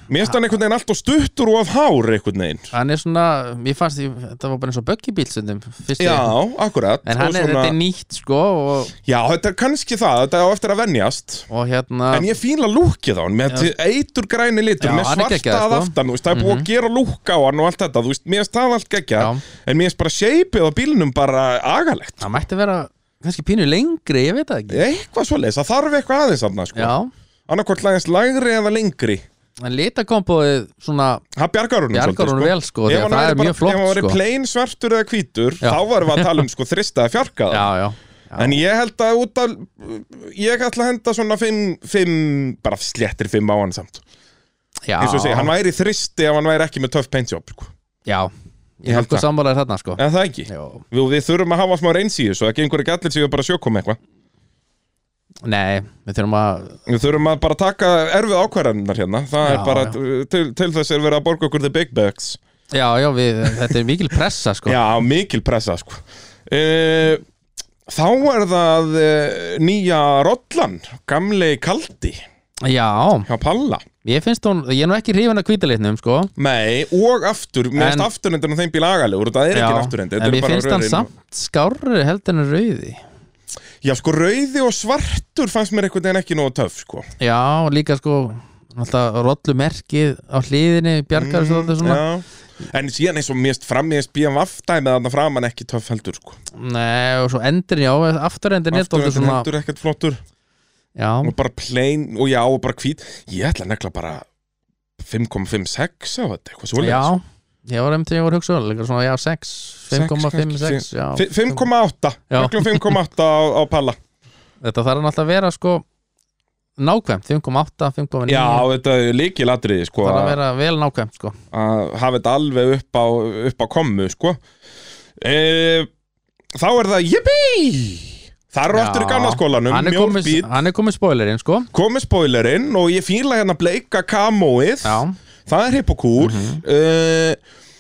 Speaker 1: mér finnst hann einhvern veginn allt og stuttur og af hár einhvern veginn
Speaker 2: Hann er svona, ég fannst því Þetta var bara eins og böggibíl stundum fyrst
Speaker 1: já, sko,
Speaker 2: þegar-
Speaker 1: akkurat
Speaker 2: En hann
Speaker 1: Og
Speaker 2: er, þetta er nýtt sko og,
Speaker 1: já, þetta er kannski það, þetta á eftir að venjast
Speaker 2: og hérna
Speaker 1: En ég fíla lúkið á hann með eitur græni litur,
Speaker 2: Já,
Speaker 1: með
Speaker 2: hann er
Speaker 1: svarta
Speaker 2: geggjaður,
Speaker 1: að
Speaker 2: sko.
Speaker 1: aftan, þú veist, það er búið að gera lúk á hann og allt þetta, þú veist, mér finnst það allt geggja
Speaker 2: Já.
Speaker 1: en mér finnst bara shapeið á bílnum bara agalegt,
Speaker 2: Það mætti vera kannski pínu lengri, ég veit það ekki
Speaker 1: eitthvað svoleiðis, það þarf eitthvað aðeins aðna, sko,
Speaker 2: Já,
Speaker 1: annarkvort lagins lægri eða lengri,
Speaker 2: en litakomboðið svona
Speaker 1: það bjargar honum
Speaker 2: bjargar hún vel sko, því
Speaker 1: ef
Speaker 2: að
Speaker 1: hann
Speaker 2: það
Speaker 1: væri
Speaker 2: er
Speaker 1: bara,
Speaker 2: mjög flott
Speaker 1: ef hann væri
Speaker 2: sko
Speaker 1: plain svartur eða hvítur,
Speaker 2: Já.
Speaker 1: þá varum við að tala um sko þristaði fjarkaða,
Speaker 2: Já, já,
Speaker 1: En ég held að út af Ég ætla að henda svona fimm, fimm bara sléttir fimm á hann samt
Speaker 2: já
Speaker 1: eins og segja, hann væri þristi ef hann væri ekki með töff paintjob sko.
Speaker 2: Já,
Speaker 1: Ég held
Speaker 2: ég held hvað
Speaker 1: það.
Speaker 2: sammálaðir þarna sko
Speaker 1: en það ekki
Speaker 2: Jó,
Speaker 1: Jú, við þurfum að hafa smá reyns í þessu, ekki einhverju gallir sem við bara sjökum eitthvað.
Speaker 2: nei, við þurfum að
Speaker 1: Við þurfum að bara taka erfið ákvarðanar hérna, það er
Speaker 2: Já,
Speaker 1: bara,
Speaker 2: já.
Speaker 1: Til, til þess er verið að borga okkur the big bucks.
Speaker 2: Já, já, við, þetta er mikil pressa sko
Speaker 1: Já, mikil pressa, sko. Uh, þá er það uh, nýja Rollan, gamli Kaldi,
Speaker 2: Já,
Speaker 1: hjá Palla.
Speaker 2: ég finnst hún, ég er nú ekki hrifin að kvítalitnum sko
Speaker 1: Nei, og aftur, mér
Speaker 2: En-
Speaker 1: finnst afturhendin og þeim bíl agalegur, það er
Speaker 2: Já,
Speaker 1: ekki afturhendi.
Speaker 2: en mér finnst hann samt skárri heldur en rauði
Speaker 1: Já, sko, rauði og svartur fannst mér einhvern veginn ekki nógu töff, sko.
Speaker 2: Já, og líka sko Alltaf rollumerkið á hliðinni Bjargar mm, svolítið svona
Speaker 1: Já. En síðan eins og mérst fram, mérst bíðan vaftæmið þarna framan ekki töff heldur sko.
Speaker 2: Nei, og svo endur, já, afturendin
Speaker 1: Afturhendin
Speaker 2: er svolítið svona
Speaker 1: heldur ekkert flottur
Speaker 2: Já,
Speaker 1: og bara plain og já og bara hvít Ég ætla að negla bara 5,56 á þetta, eitthvað
Speaker 2: já
Speaker 1: svoleiðis
Speaker 2: Ég var einmitt þegar ég voru hugsaður líka svona, já, 6
Speaker 1: Sex
Speaker 2: 5,5,
Speaker 1: kannski,
Speaker 2: 6, já
Speaker 1: Fi- 5,8,
Speaker 2: Já.
Speaker 1: neglum 5,8 á, á palla
Speaker 2: Þetta þarf hann alltaf að vera sko nákvæmt, 5,8, 5,9
Speaker 1: Já, þetta er líkilatriði sko,
Speaker 2: þarf að
Speaker 1: að
Speaker 2: vera vel nákvæmt sko
Speaker 1: að hafa þetta alveg upp á, upp á kommu sko. e, Þá er það jippi Það eru
Speaker 2: Já.
Speaker 1: aftur í gamla skólanum
Speaker 2: Hann er komið-
Speaker 1: Mjólbít,
Speaker 2: Hann er komið spoilerinn sko
Speaker 1: komið spoilerinn og ég fíla hérna bleika kamóið
Speaker 2: Já, Mhm.
Speaker 1: Það er hipp og cool uh,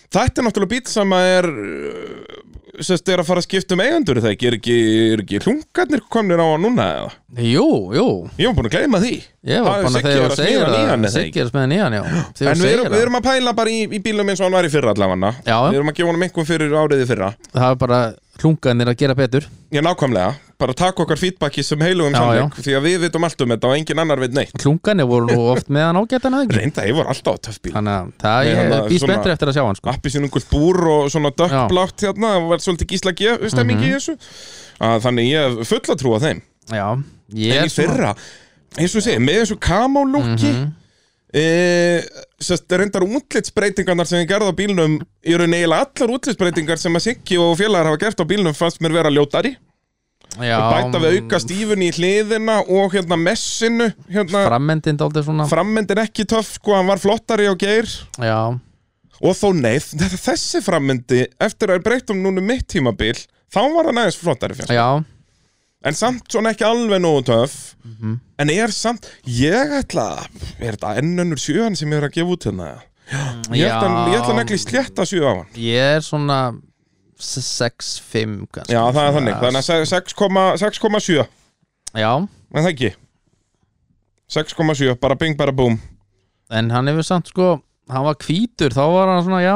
Speaker 1: Þetta er náttúrulega bíl sem að er uh, sérst er að fara að skipta um eigendur er það ekki, er ekki, er ekki hlungarnir komnir á hann núna eða?
Speaker 2: jú, jú
Speaker 1: Ég var búin að gleyma því
Speaker 2: Ég var
Speaker 1: Það er
Speaker 2: bara
Speaker 1: Siggi
Speaker 2: þegar
Speaker 1: er
Speaker 2: þú
Speaker 1: að
Speaker 2: segir
Speaker 1: smíða nýjan, er
Speaker 2: það
Speaker 1: það
Speaker 2: Siggi er að smíða nýjan, já Þegar
Speaker 1: En
Speaker 2: þú
Speaker 1: við
Speaker 2: segir
Speaker 1: erum, við erum að pæla bara í, í bílum eins og hann var í fyrra allavega
Speaker 2: Já.
Speaker 1: Við erum að gefa honum einhver fyrir árið í fyrra
Speaker 2: það Það er bara hlunganir að gera betur
Speaker 1: Já, nákvæmlega, bara taka okkar feedbacki sem heilugum
Speaker 2: Já,
Speaker 1: samleik Því að við vitum allt um þetta og engin annar veit neitt
Speaker 2: Hlunganir voru nú oft með hann ágættan að ekki
Speaker 1: Reynda, ég var alltaf á töff bíl
Speaker 2: Þannig að það
Speaker 1: Nei,
Speaker 2: ég
Speaker 1: hann-
Speaker 2: býst
Speaker 1: svona- Ah.
Speaker 2: betur eftir að sjá hann sko
Speaker 1: appisinn einhvern búr og svona dökkblátt hérna, það var svolítið gísla stemming
Speaker 2: Mhm.
Speaker 1: í þessu að þannig ég hef fulla trú á þeim
Speaker 2: Já, ég
Speaker 1: en
Speaker 2: er
Speaker 1: í fyrra, eins og ég segi, með þessu kamálúki
Speaker 2: Mhm.
Speaker 1: mm -hmm. e, sérst, reyndar útlitsbreytingarnar sem ég gerði á bílnum í raun eiginlega allar útlitsbreytingar sem að Siggi og félagar hafa gert á bílnum fannst mér vera ljótari
Speaker 2: já,
Speaker 1: bæta við auka stífun í hliðina og hérna messinu hérna,
Speaker 2: Frammendin mm, dálítið svona
Speaker 1: frammyndin ekki töff sko, hann var flottari á geir
Speaker 2: Já,
Speaker 1: Og þó neið, þetta- þessi frammyndi eftir að er breytt um núna mitt tímabil þá var hann aðeins flottari fyrir
Speaker 2: já,
Speaker 1: en samt svona ekki alveg nógu töff en er samt, ég ætla að- er þetta ennönnur sjöan sem ég er að gefa út hérna ég ætla,
Speaker 2: Já.
Speaker 1: ég ætla negli slétta sjö á hann
Speaker 2: ég er svona 6-5 kannski.
Speaker 1: Já, það er þannig,
Speaker 2: Svona,
Speaker 1: þannig að se- 6,7
Speaker 2: Já,
Speaker 1: En það ekki 6,7, bara bing, bara búm
Speaker 2: en hann hefur samt sko Hann var hvítur, þá var hann svona, já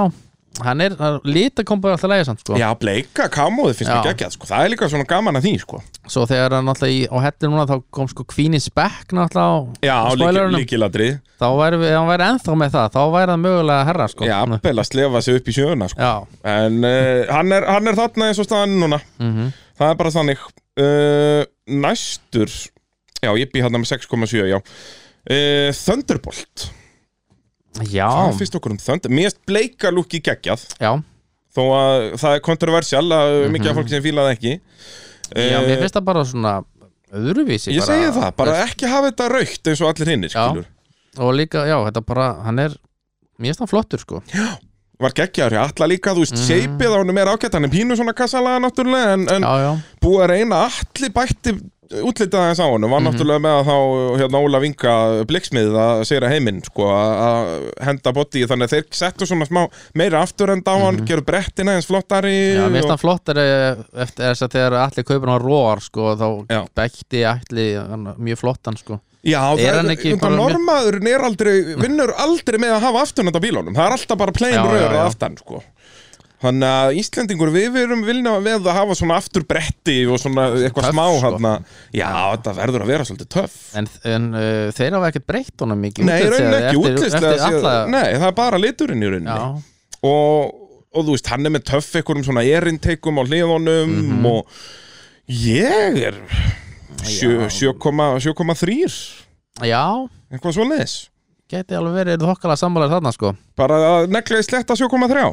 Speaker 2: Hann er, hann- lita kom bara alltaf lægja samt sko
Speaker 1: Já, bleika kamóði finnst mér
Speaker 2: Já.
Speaker 1: geggjað, sko Það er líka svona gaman að því, sko
Speaker 2: Svo þegar hann alltaf í, á hettir núna Þá kom sko Queen's Back náttúrulega á-
Speaker 1: Já,
Speaker 2: á
Speaker 1: líki-
Speaker 2: spoilerunum.
Speaker 1: líkilatrið
Speaker 2: Þá væri, ef hann væri ennþá með það Þá væri það mögulega herra sko
Speaker 1: Já, bel að slefa sig upp í sjöuna, sko
Speaker 2: já.
Speaker 1: En uh, hann, er, hann er þarna eins og staðan núna
Speaker 2: mhm.
Speaker 1: Það er bara þannig uh, Næstur Já, ég bý hann með 6,7, já uh, Thunderbolt
Speaker 2: já,
Speaker 1: Það finnst okkur um Thunder Mér erst bleika lúki geggjað
Speaker 2: já
Speaker 1: Þó að það er kontroversial að mikið af fólki sem fílaði ekki
Speaker 2: Mhm. Já,
Speaker 1: Eh,
Speaker 2: mér finnst það bara svona öðruvísi
Speaker 1: Ég
Speaker 2: bara,
Speaker 1: segi það, bara ekki hafa þetta raukt eins og allir hinnir,
Speaker 2: Já.
Speaker 1: skilur
Speaker 2: Og líka, já, þetta bara, hann er Mér finnst það flottur sko
Speaker 1: Var geggjaður hjá alla líka, þú veist,
Speaker 2: Mhm.
Speaker 1: mm. shapeið á honum er ágætt Hann er pínu svona kassalega náttúrulega En, en
Speaker 2: Já, já,
Speaker 1: búið að reyna að allir bætti útlitað aðeins á honum
Speaker 2: Mhm.
Speaker 1: Var náttúrulega með að þá hérna Óla Vinga blikksmið að segja heiminn sko, að- að henda bodyið Þannig að þeir settu svona smá meira aftur enda á hann mm. Gerðu brettina eins flottari
Speaker 2: Mhm. já mér finnst
Speaker 1: og-
Speaker 2: það flottur eh, Eftir þess að þegar allir kaupir hann róar sko Þá
Speaker 1: Já.
Speaker 2: bekti allir hann, mjög flottan sko
Speaker 1: Já,
Speaker 2: Er
Speaker 1: það
Speaker 2: hann ekki
Speaker 1: undan
Speaker 2: bara með- Mm.
Speaker 1: normaðurinn er aldrei, vinnur aldrei með að hafa afturinn á bílunum, það er alltaf bara plain
Speaker 2: Já,
Speaker 1: röður
Speaker 2: já,
Speaker 1: að
Speaker 2: já.
Speaker 1: aftan, sko Þannig að Íslendingur, við verum vilna við að hafa svona aftur bretti og svona eitthvað
Speaker 2: Töff,
Speaker 1: smá
Speaker 2: sko.
Speaker 1: hann að, já, þetta verður að vera svolítið töff
Speaker 2: En, en uh, þeir hafa ekkert breytt honum mikið
Speaker 1: Nei,
Speaker 2: útlitslega
Speaker 1: raunin ekki
Speaker 2: eftir- eftir
Speaker 1: útlistlega
Speaker 2: alla-
Speaker 1: Nei, það er bara liturinn í rauninni
Speaker 2: Já,
Speaker 1: og, og þú veist, hann er með töff einhverjum svona erinteikum á hliðunum
Speaker 2: Mhm.
Speaker 1: og ég er sjö- 7,3
Speaker 2: já,
Speaker 1: eitthvað svoleiðis
Speaker 2: geti alveg verið Eru þokkala sammálar þarna sko
Speaker 1: bara að negla í sletta 7,3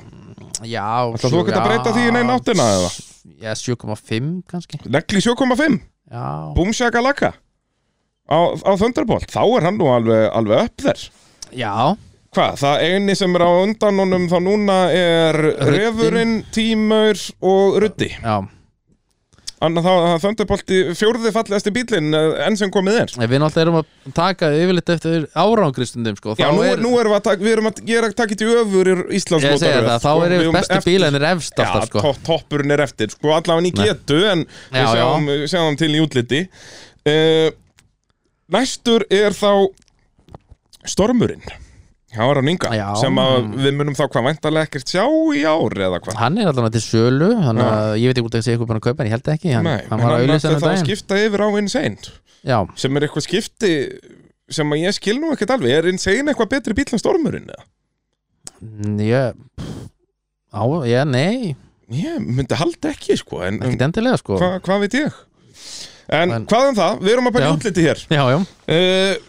Speaker 2: Já,
Speaker 1: Ætlar þú
Speaker 2: sjö-
Speaker 1: ekkert að
Speaker 2: já,
Speaker 1: breyta því í neina áttina eða?
Speaker 2: Já, 7,5 kannski
Speaker 1: negli 7,5
Speaker 2: Já,
Speaker 1: Búmsjaka laka á, á Thunderbolt, þá er hann nú alveg, alveg upp þér
Speaker 2: já
Speaker 1: Hvað, það eini sem er á undan honum þá núna er
Speaker 2: Ruddinn.
Speaker 1: Refurinn, Tímur og Ruddi
Speaker 2: Já,
Speaker 1: Annað þá að Thunderbolti fjórði fallegasti bílinn eh, enn sem komið er
Speaker 2: En við náttúrulega erum að taka yfirleitt eftir árangristundum sko.
Speaker 1: Já, nú, er, nú erum við að taka, við erum að, ég er að taka þetta í öfur í Íslands
Speaker 2: Ég segja það, þá
Speaker 1: sko,
Speaker 2: er
Speaker 1: við
Speaker 2: yfir
Speaker 1: erum
Speaker 2: bestu
Speaker 1: eftir-
Speaker 2: bílarnir efst
Speaker 1: Já,
Speaker 2: alltaf sko.
Speaker 1: to toppurinn er eftir, sko allavega hann í
Speaker 2: Nei.
Speaker 1: getu en við
Speaker 2: Já, já.
Speaker 1: sjáum, við sjáum til í útliti uh, Næstur er þá Stormurinn hjá Aron Inga
Speaker 2: Já.
Speaker 1: sem að við munum þá hvað væntalega ekkert sjá í ár eða hvað
Speaker 2: Hann er allavega til sölu Þannig að ég veit ekki hvort það sé eitthvað búin að kaupa En ég held ekki, hann,
Speaker 1: Nei,
Speaker 2: hann var að
Speaker 1: ætlaði
Speaker 2: auðlýsa hann um
Speaker 1: þá að
Speaker 2: daginn
Speaker 1: skipta yfir á Insane
Speaker 2: Já,
Speaker 1: sem er eitthvað skipti sem að ég skil nú ekkert alveg er Insane eitthvað betri bíl en Stormurinn eða?
Speaker 2: Mm, ég Á, já, nei,
Speaker 1: Ég myndi halda ekki sko en um,
Speaker 2: ekkert endilega sko
Speaker 1: hvað hva veit ég? En,
Speaker 2: En-
Speaker 1: hvað um það, við erum að bara í
Speaker 2: Já.
Speaker 1: útliti hér
Speaker 2: Já, já,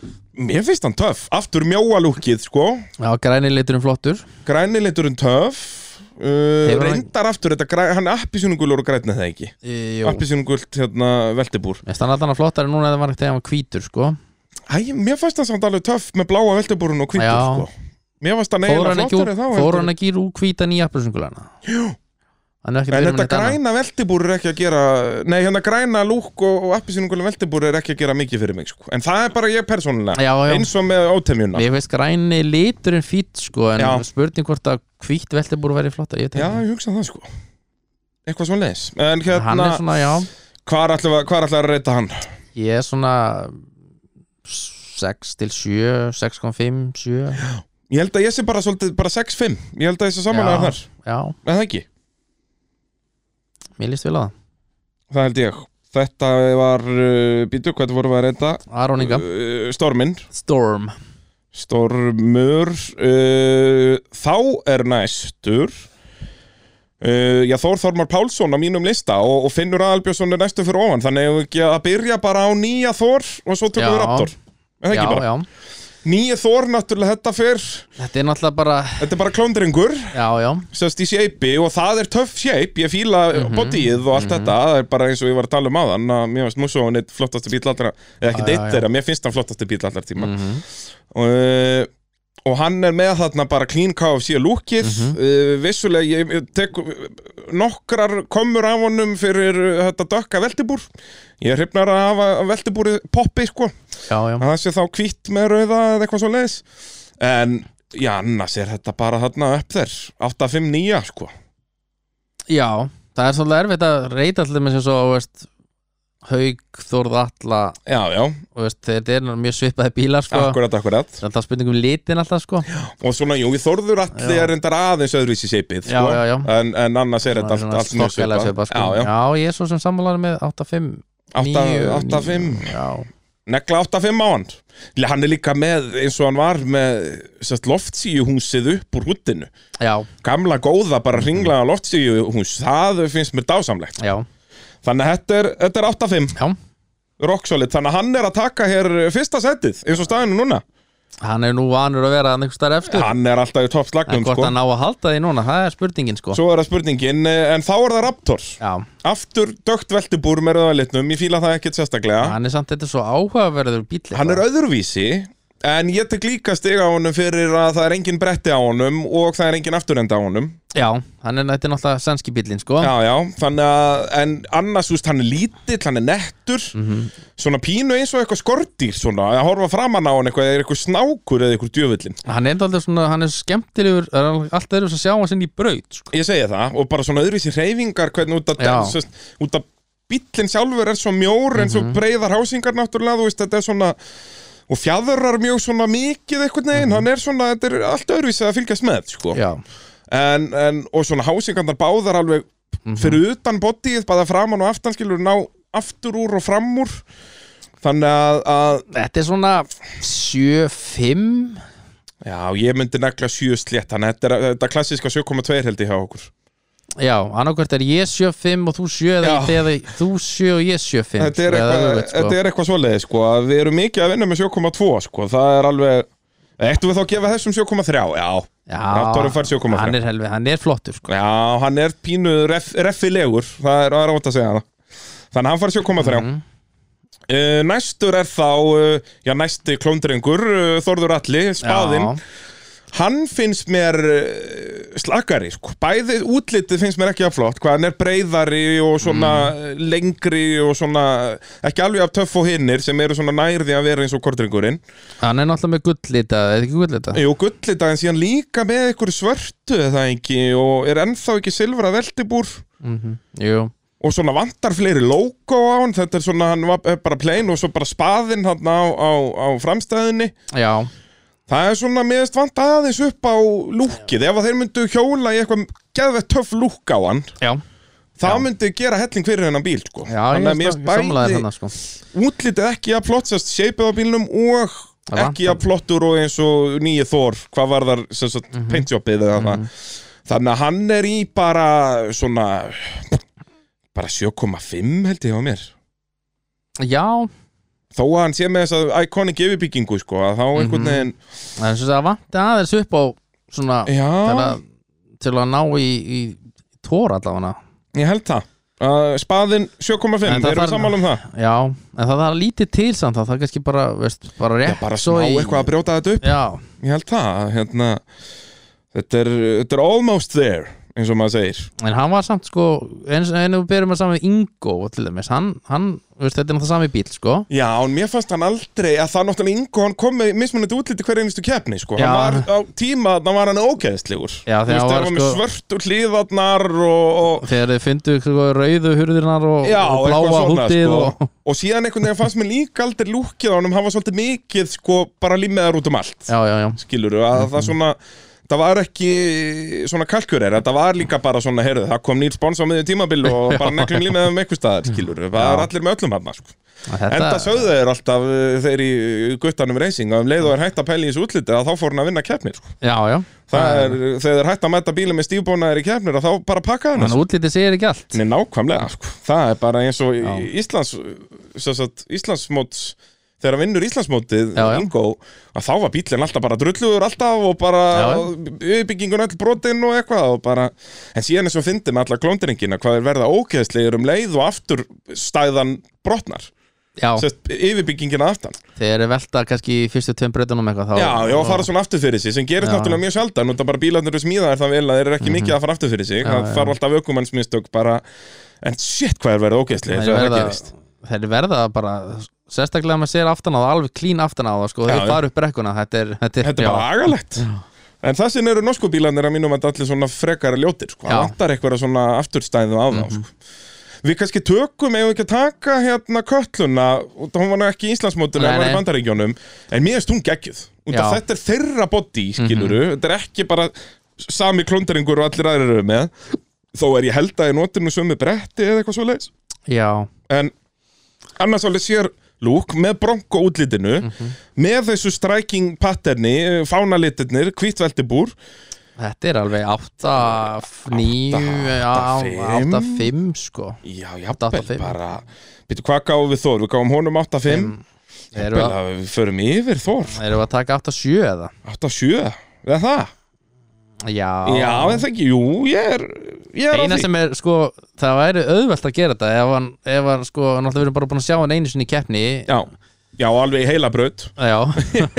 Speaker 1: Uh, mér finnst hann töff Aftur mjóa lúkið, sko
Speaker 2: já græni liturinn flottur
Speaker 1: Græniliturinn töff uh,
Speaker 2: Hefur hann-
Speaker 1: Reyndar aftur, þetta, græ- hann er appisjónungulur og grænna það ekki
Speaker 2: Í- Jú,
Speaker 1: Appisjónungult, hérna, veltibúr
Speaker 2: Mér finnst hann alltaf flottari núna þegar hann var þegar hann var hvítur sko
Speaker 1: Æ, mér fannst hann samt alveg töff með bláa veltibúrun og hvítur,
Speaker 2: Já.
Speaker 1: sko Mér fannst hann
Speaker 2: Fór hann
Speaker 1: eiginlega
Speaker 2: ekki úr,
Speaker 1: flottari þá
Speaker 2: fór
Speaker 1: heldur
Speaker 2: hann
Speaker 1: en-
Speaker 2: ekki úr hvítan í appelsungulana Jú
Speaker 1: En þetta græna veltibúr er ekki að gera Nei, hérna græna lúk og, og appisjónungulur veltibúr er ekki að gera mikið fyrir mig, sko En það er bara ég persónulega
Speaker 2: Já, já,
Speaker 1: Eins og með ótemjuna
Speaker 2: Mér finnst græni liturinn fýtt sko en
Speaker 1: Já.
Speaker 2: spurning hvort að hvítt veltibúr væri flottar ég veit
Speaker 1: Já,
Speaker 2: ekki.
Speaker 1: ég hugsa það, sko Eitthvað svona leis En hérna
Speaker 2: Hann er svona, já,
Speaker 1: Hvar ætlum við hvar ætlum við að reyta hann?
Speaker 2: ég er svona 6 til 7 6,5, 7
Speaker 1: Ég held að ég sé bara svolítið, bara 6-5 Ég held að ég sé samanlega þar,
Speaker 2: Já,
Speaker 1: en það ekki
Speaker 2: mér líst vel á það
Speaker 1: Það held ég Þetta var, uh, býtu, hvernig vorum við að reyta?
Speaker 2: Aróninga,
Speaker 1: Uh, stormin
Speaker 2: Storm
Speaker 1: Stormur uh, Þá er næstur uh, Já, Þór Þormar Pálsson á mínum lista og, og Finnur Aðalbjörnsson er næstur fyrir ofan Þannig eigum við ekki að byrja bara á nýja Þór og svo tökum
Speaker 2: Já.
Speaker 1: við Raptor En það
Speaker 2: Já,
Speaker 1: ekki bara
Speaker 2: já,
Speaker 1: Nýja Þór, náttúrulega, þetta fyrr
Speaker 2: þetta er náttúrulega bara
Speaker 1: Þetta er bara klóndrengur
Speaker 2: Já, já,
Speaker 1: sérst í shape og það er töff shape ég fíla
Speaker 2: Mhm.
Speaker 1: mm bodyið og allt þetta það er bara eins og ég var að tala um aðan að mér finnst Musso hann eitt flottasti bíl allra eða ekki
Speaker 2: Já, já,
Speaker 1: deitt
Speaker 2: já. Mhm.
Speaker 1: þeirra, mér finnst hann flottasti bíl allra tíma og, uh, og hann er með þarna bara clean KFC lúkið
Speaker 2: Mhm.
Speaker 1: uh, vissulega ég ég tek nokkrar komur af honum fyrir uh, þetta dökka veltibúr ég er hrifnar að hafa veltibúrið poppi sko
Speaker 2: já, já
Speaker 1: að það sé þá kvitt með rauða eða eitthvað svo leiðis en já, annars er þetta bara þarna upp þér 8-5-9 sko
Speaker 2: Já, það er svolítið erfitt að reyta allir með sem svo veist, haug, þórð, alla
Speaker 1: Já, já,
Speaker 2: og veist, þetta er mjög svipaði bílar sko.
Speaker 1: akkurat, akkurat
Speaker 2: Það er alltaf spurning um litin alltaf sko.
Speaker 1: Og svona, jú, í Þórður allir
Speaker 2: Já.
Speaker 1: er reyndar aðeins öðruvísi seipið
Speaker 2: Já,
Speaker 1: sko.
Speaker 2: já, já.
Speaker 1: En, en annars er þetta allt,
Speaker 2: Svona
Speaker 1: allt mjög
Speaker 2: stokkalega
Speaker 1: svipað.
Speaker 2: svipað, sko.
Speaker 1: Já, já,
Speaker 2: ég er svo sem sammálar með 8-5
Speaker 1: Átta-
Speaker 2: 9,
Speaker 1: 8-5.
Speaker 2: Já,
Speaker 1: negla 8-5 á hann Hann er líka með, eins og hann var með sest, loftsíu húsið upp úr húttinu
Speaker 2: já,
Speaker 1: Gamla góða, bara ringlaða loftsíu hús Það finnst mér dásamlegt
Speaker 2: já,
Speaker 1: Þannig að þetta er, þetta er 8-5
Speaker 2: já.
Speaker 1: Rock solid, þannig að hann er að taka hér fyrsta setið, eins og staðinu núna
Speaker 2: Hann er nú vanur að vera hann einhver starf eftir
Speaker 1: Hann er alltaf í
Speaker 2: En
Speaker 1: toppslagnum
Speaker 2: hvort
Speaker 1: sko.
Speaker 2: hann á að halda því núna, það er spurningin sko.
Speaker 1: Svo er það spurningin, eh, en þá er það Raptor
Speaker 2: Já,
Speaker 1: Aftur dögt veltibúr með rauðalitnum Ég fíla það ekkert sérstaklega
Speaker 2: hann er samt þetta er svo áhugaverður bíl
Speaker 1: Hann er öðruvísi En ég tek líka stiga á honum fyrir að það er engin bretti á honum Og það er engin afturenda á honum
Speaker 2: Já, hann er þetta er náttúrulega sænski bílinn sko.
Speaker 1: Já, já, þannig að En annars, úst, hann er lítill, hann er nettur Svona pínu eins og eitthvað skordýr Svona, að horfa framan á hann eitthvað Er eitthvað snákur eða eitthvað djöfullin
Speaker 2: Hann er alltaf svona, hann er skemmtilegur það er alltaf erum að sjá hann sinni í braut sko.
Speaker 1: Ég segi það, og bara svona öðruvísi reyfingar hvernig út að,
Speaker 2: Já.
Speaker 1: sest, út að bíllinn sjálfur er svo mjór eins og breiðar hásingar náttúrulega, þú veist, þetta er svona og fjadrar mjög svona mikið einhvern veginn, hann er svona, þetta er allt öðruvísi að fylgjast með, sko
Speaker 2: Já,
Speaker 1: en, en, og svona hásingarnar báðar alveg fyrir utan bodyið, bæða framan og aftan skilur ná aftur úr og fram úr þannig að, að
Speaker 2: þetta er svona 7-5
Speaker 1: já, ég myndi negla sjö slétt, þannig að þetta er þetta klassiska 7,2 held ég hjá okkur
Speaker 2: Já, annarkvært er ég 7-5 og þú 7 eða
Speaker 1: Já.
Speaker 2: ég- eða þú 7 og ég 7-5
Speaker 1: þetta er,
Speaker 2: eða
Speaker 1: eitthvað,
Speaker 2: öfugt, sko.
Speaker 1: þetta er eitthvað svoleiði sko. að við erum mikið að vinna með 7,2 sko. það er alveg Ættum við þá að gefa þessum 7,3? Já, Raptorinn fær 7,5.
Speaker 2: Hann er helvið, hann er flottur sko.
Speaker 1: já, hann er pínu ref, reffilegur, það er, það er átt að segja það Þannig að hann fær 7,3 mm. Eh, Næstur er þá, uh, já næsti klóndrengur, uh, Þorður Alli, spaðinn
Speaker 2: Já,
Speaker 1: Hann finnst mér uh, slakari, sko. bæði útlitið finnst mér ekki að flott, hvað hann er breyðari og svona lengri og svona ekki alveg af töff og hinnir sem eru svona nærði að vera eins og kortringurinn.
Speaker 2: hann er náttúrulega með gullita eða ekki gullita
Speaker 1: Jú, gullitað en síðan líka með ykkur svörtu er það ekki og er ennþá ekki silfra veltibúr
Speaker 2: Jú,
Speaker 1: og svona vantar fleiri logo á hann, þetta er svona, hann var er bara plain og svo bara spaðinn hann á, á, á framstæðinni.
Speaker 2: já,
Speaker 1: Það er svona meðist vant aðeins upp á lúkið ef að þeir myndu hjóla í eitthvað geðvett töff lúk á hann
Speaker 2: já
Speaker 1: það myndi gera helling fyrir hennan bíl sko.
Speaker 2: Já,
Speaker 1: þannig að
Speaker 2: ég
Speaker 1: mér
Speaker 2: er samlaðið
Speaker 1: bæði
Speaker 2: þannig sko.
Speaker 1: útlitið ekki að flott sérst seipið á bílnum og
Speaker 2: Það vantar.
Speaker 1: ekki að flottur og eins og nýju þór hvað var þar sérst mm
Speaker 2: Mhm.
Speaker 1: -hmm. paintjobbið eða það þannig að hann er í bara svona bara 7,5 held ég á mér
Speaker 2: Já,
Speaker 1: þó að hann sé með þess að iconic yfirbyggingu sko, að þá einhvern
Speaker 2: Mhm.
Speaker 1: veginn
Speaker 2: það er svo að vanti aðeins upp á svona til
Speaker 1: já,
Speaker 2: að, til að ná í, í tóra allavega
Speaker 1: Ég held það uh, Spaðin 7,5,
Speaker 2: En
Speaker 1: við
Speaker 2: það
Speaker 1: erum
Speaker 2: þarf-
Speaker 1: sammála um það
Speaker 2: Já, en það þarf lítið til samt það, það er kannski bara, veist, bara
Speaker 1: Já,
Speaker 2: rétt
Speaker 1: bara smá
Speaker 2: svo í-
Speaker 1: eitthvað að brjóta þetta upp
Speaker 2: Já,
Speaker 1: Ég held það, hérna Þetta er, þetta er almost there eins og maður segir
Speaker 2: en hann var samt sko eins og við berum að saman við Ingo til dæmis, hann, hann veist, þetta er náttúrulega sami bíl sko
Speaker 1: Já, en mér fannst hann aldrei að það náttúrulega Ingo, hann kom með mismunandi útliti hver einustu keppni, sko
Speaker 2: Já.
Speaker 1: Hann var á tíma, þannig var hann ógeðslegur
Speaker 2: Já,
Speaker 1: Þú
Speaker 2: þegar
Speaker 1: veist,
Speaker 2: hann
Speaker 1: hann
Speaker 2: var,
Speaker 1: var með
Speaker 2: sko-
Speaker 1: svörtu hliðarnar og, og
Speaker 2: þegar þið fyndu sko, rauðu hurðirnar og,
Speaker 1: Já,
Speaker 2: og
Speaker 1: eitthvað
Speaker 2: bláa
Speaker 1: svona,
Speaker 2: hútið
Speaker 1: sko.
Speaker 2: og...
Speaker 1: og síðan einhvern veginn fannst mér líka aldrei lúkið á honum, hann var svolítið mikið, sko, bara límiðar út um allt
Speaker 2: Já, já, já,
Speaker 1: skilur að það
Speaker 2: Mhm.
Speaker 1: svona það var ekki svona kalkurir þetta var líka bara svona, heyrðu, það kom nýr spons á miðjum tímabil og bara neklum límið um eitthvað staðar, skilur, það var allir með öllum hann sko.
Speaker 2: þetta,
Speaker 1: enda sögðu þeir alltaf uh, þeir í guttanum reysing að um leið og er hægt að pæla í þessu útliti að þá fór hann að vinna keppnir sko.
Speaker 2: já, já
Speaker 1: það er, þegar þeir hægt að mæta bíli með stífbónaðir í keppnir að þá bara pakka hann
Speaker 2: Þannig að útlitið segir ekki allt
Speaker 1: Nei, nákvæmlega, sko. það er bara eins og í-
Speaker 2: Já.
Speaker 1: Íslands, sem sagt, Íslandsmóts þegar hann vinnur Íslandsmótið
Speaker 2: Já, já.
Speaker 1: Ingo, að þá var bílinn alltaf bara drulluður alltaf og bara
Speaker 2: Já, já.
Speaker 1: yfirbyggingun öll brotinn og eitthvað og bara, en síðan eins og fyndi með alla klóndiringina hvað er verða ógeðslegir um leið og aftur stæðan brotnar
Speaker 2: Já,
Speaker 1: Sest, yfirbyggingina aftan
Speaker 2: þeir eru velta kannski í fyrstu tveim breytunum eitthvað þá,
Speaker 1: Já, já, og fara svona aftur fyrir sig sem gerist
Speaker 2: Já. Mhm.
Speaker 1: náttúrulega mjög sjaldan og það bara bílarnir eru smíðaðir það vel að þeir eru ekki mikið að fara aftur fyrir sig
Speaker 2: Já,
Speaker 1: það
Speaker 2: já.
Speaker 1: fara alltaf ökumannsmiðstök bara en shit hvað er verið ógeðslega
Speaker 2: þeir
Speaker 1: þegar það
Speaker 2: verða,
Speaker 1: gerist
Speaker 2: þeir verða bara sérstaklega að maður sér aftan á það alveg klín aftan á það sko,
Speaker 1: Já,
Speaker 2: þeir
Speaker 1: já.
Speaker 2: fara upp brekkuna þetta er, þetta er,
Speaker 1: Þetta er
Speaker 2: já,
Speaker 1: bara agalegt En þessin eru norsku bílarnir að mínum að allir svona frekara ljótir, sko. Það
Speaker 2: Já. Mhm.
Speaker 1: vantar eitthvað svona afturstæðu á þá, sko. Við kannski tökum, ef við ekki að taka hérna kölluna, og það hún var nú ekki í Íslandsmótinu,
Speaker 2: Nei,
Speaker 1: það var í
Speaker 2: nei.
Speaker 1: bandaríkjónum, en mér erst hún geggjuð. Út af
Speaker 2: Já. Mhm.
Speaker 1: þetta er þeirra body, skiluru, þetta er ekki bara sami klonderingur og allir aðrir eru með, þó er ég held að ég notir nú sömu bretti eða eitthvað svoleiðis.
Speaker 2: Já,
Speaker 1: En annars alveg sér lúk með bronko útlitinu með þessu striking patterni fánalitirnir, hvítveltibúr
Speaker 2: þetta er alveg 8, 9,
Speaker 1: átta,
Speaker 2: 8, 5 sko
Speaker 1: Já, jafnvel
Speaker 2: 8-5.
Speaker 1: bara Býtu, hvað gáum við Þór? Við gáum honum 8-5 Jafnvel
Speaker 2: Erum við að,
Speaker 1: að við förum yfir Þór
Speaker 2: erum við að taka 8, 7 eða?
Speaker 1: 8-7, eða það?
Speaker 2: Já,
Speaker 1: Já, en það ekki, jú, ég er ég er á
Speaker 2: Eina
Speaker 1: því.
Speaker 2: sem er sko, það væri auðvelt að gera þetta ef hann, ef hann sko, náttúrulega við erum bara búin að sjá hann einu sinni í keppni
Speaker 1: Já, já, alveg í heila braut
Speaker 2: Já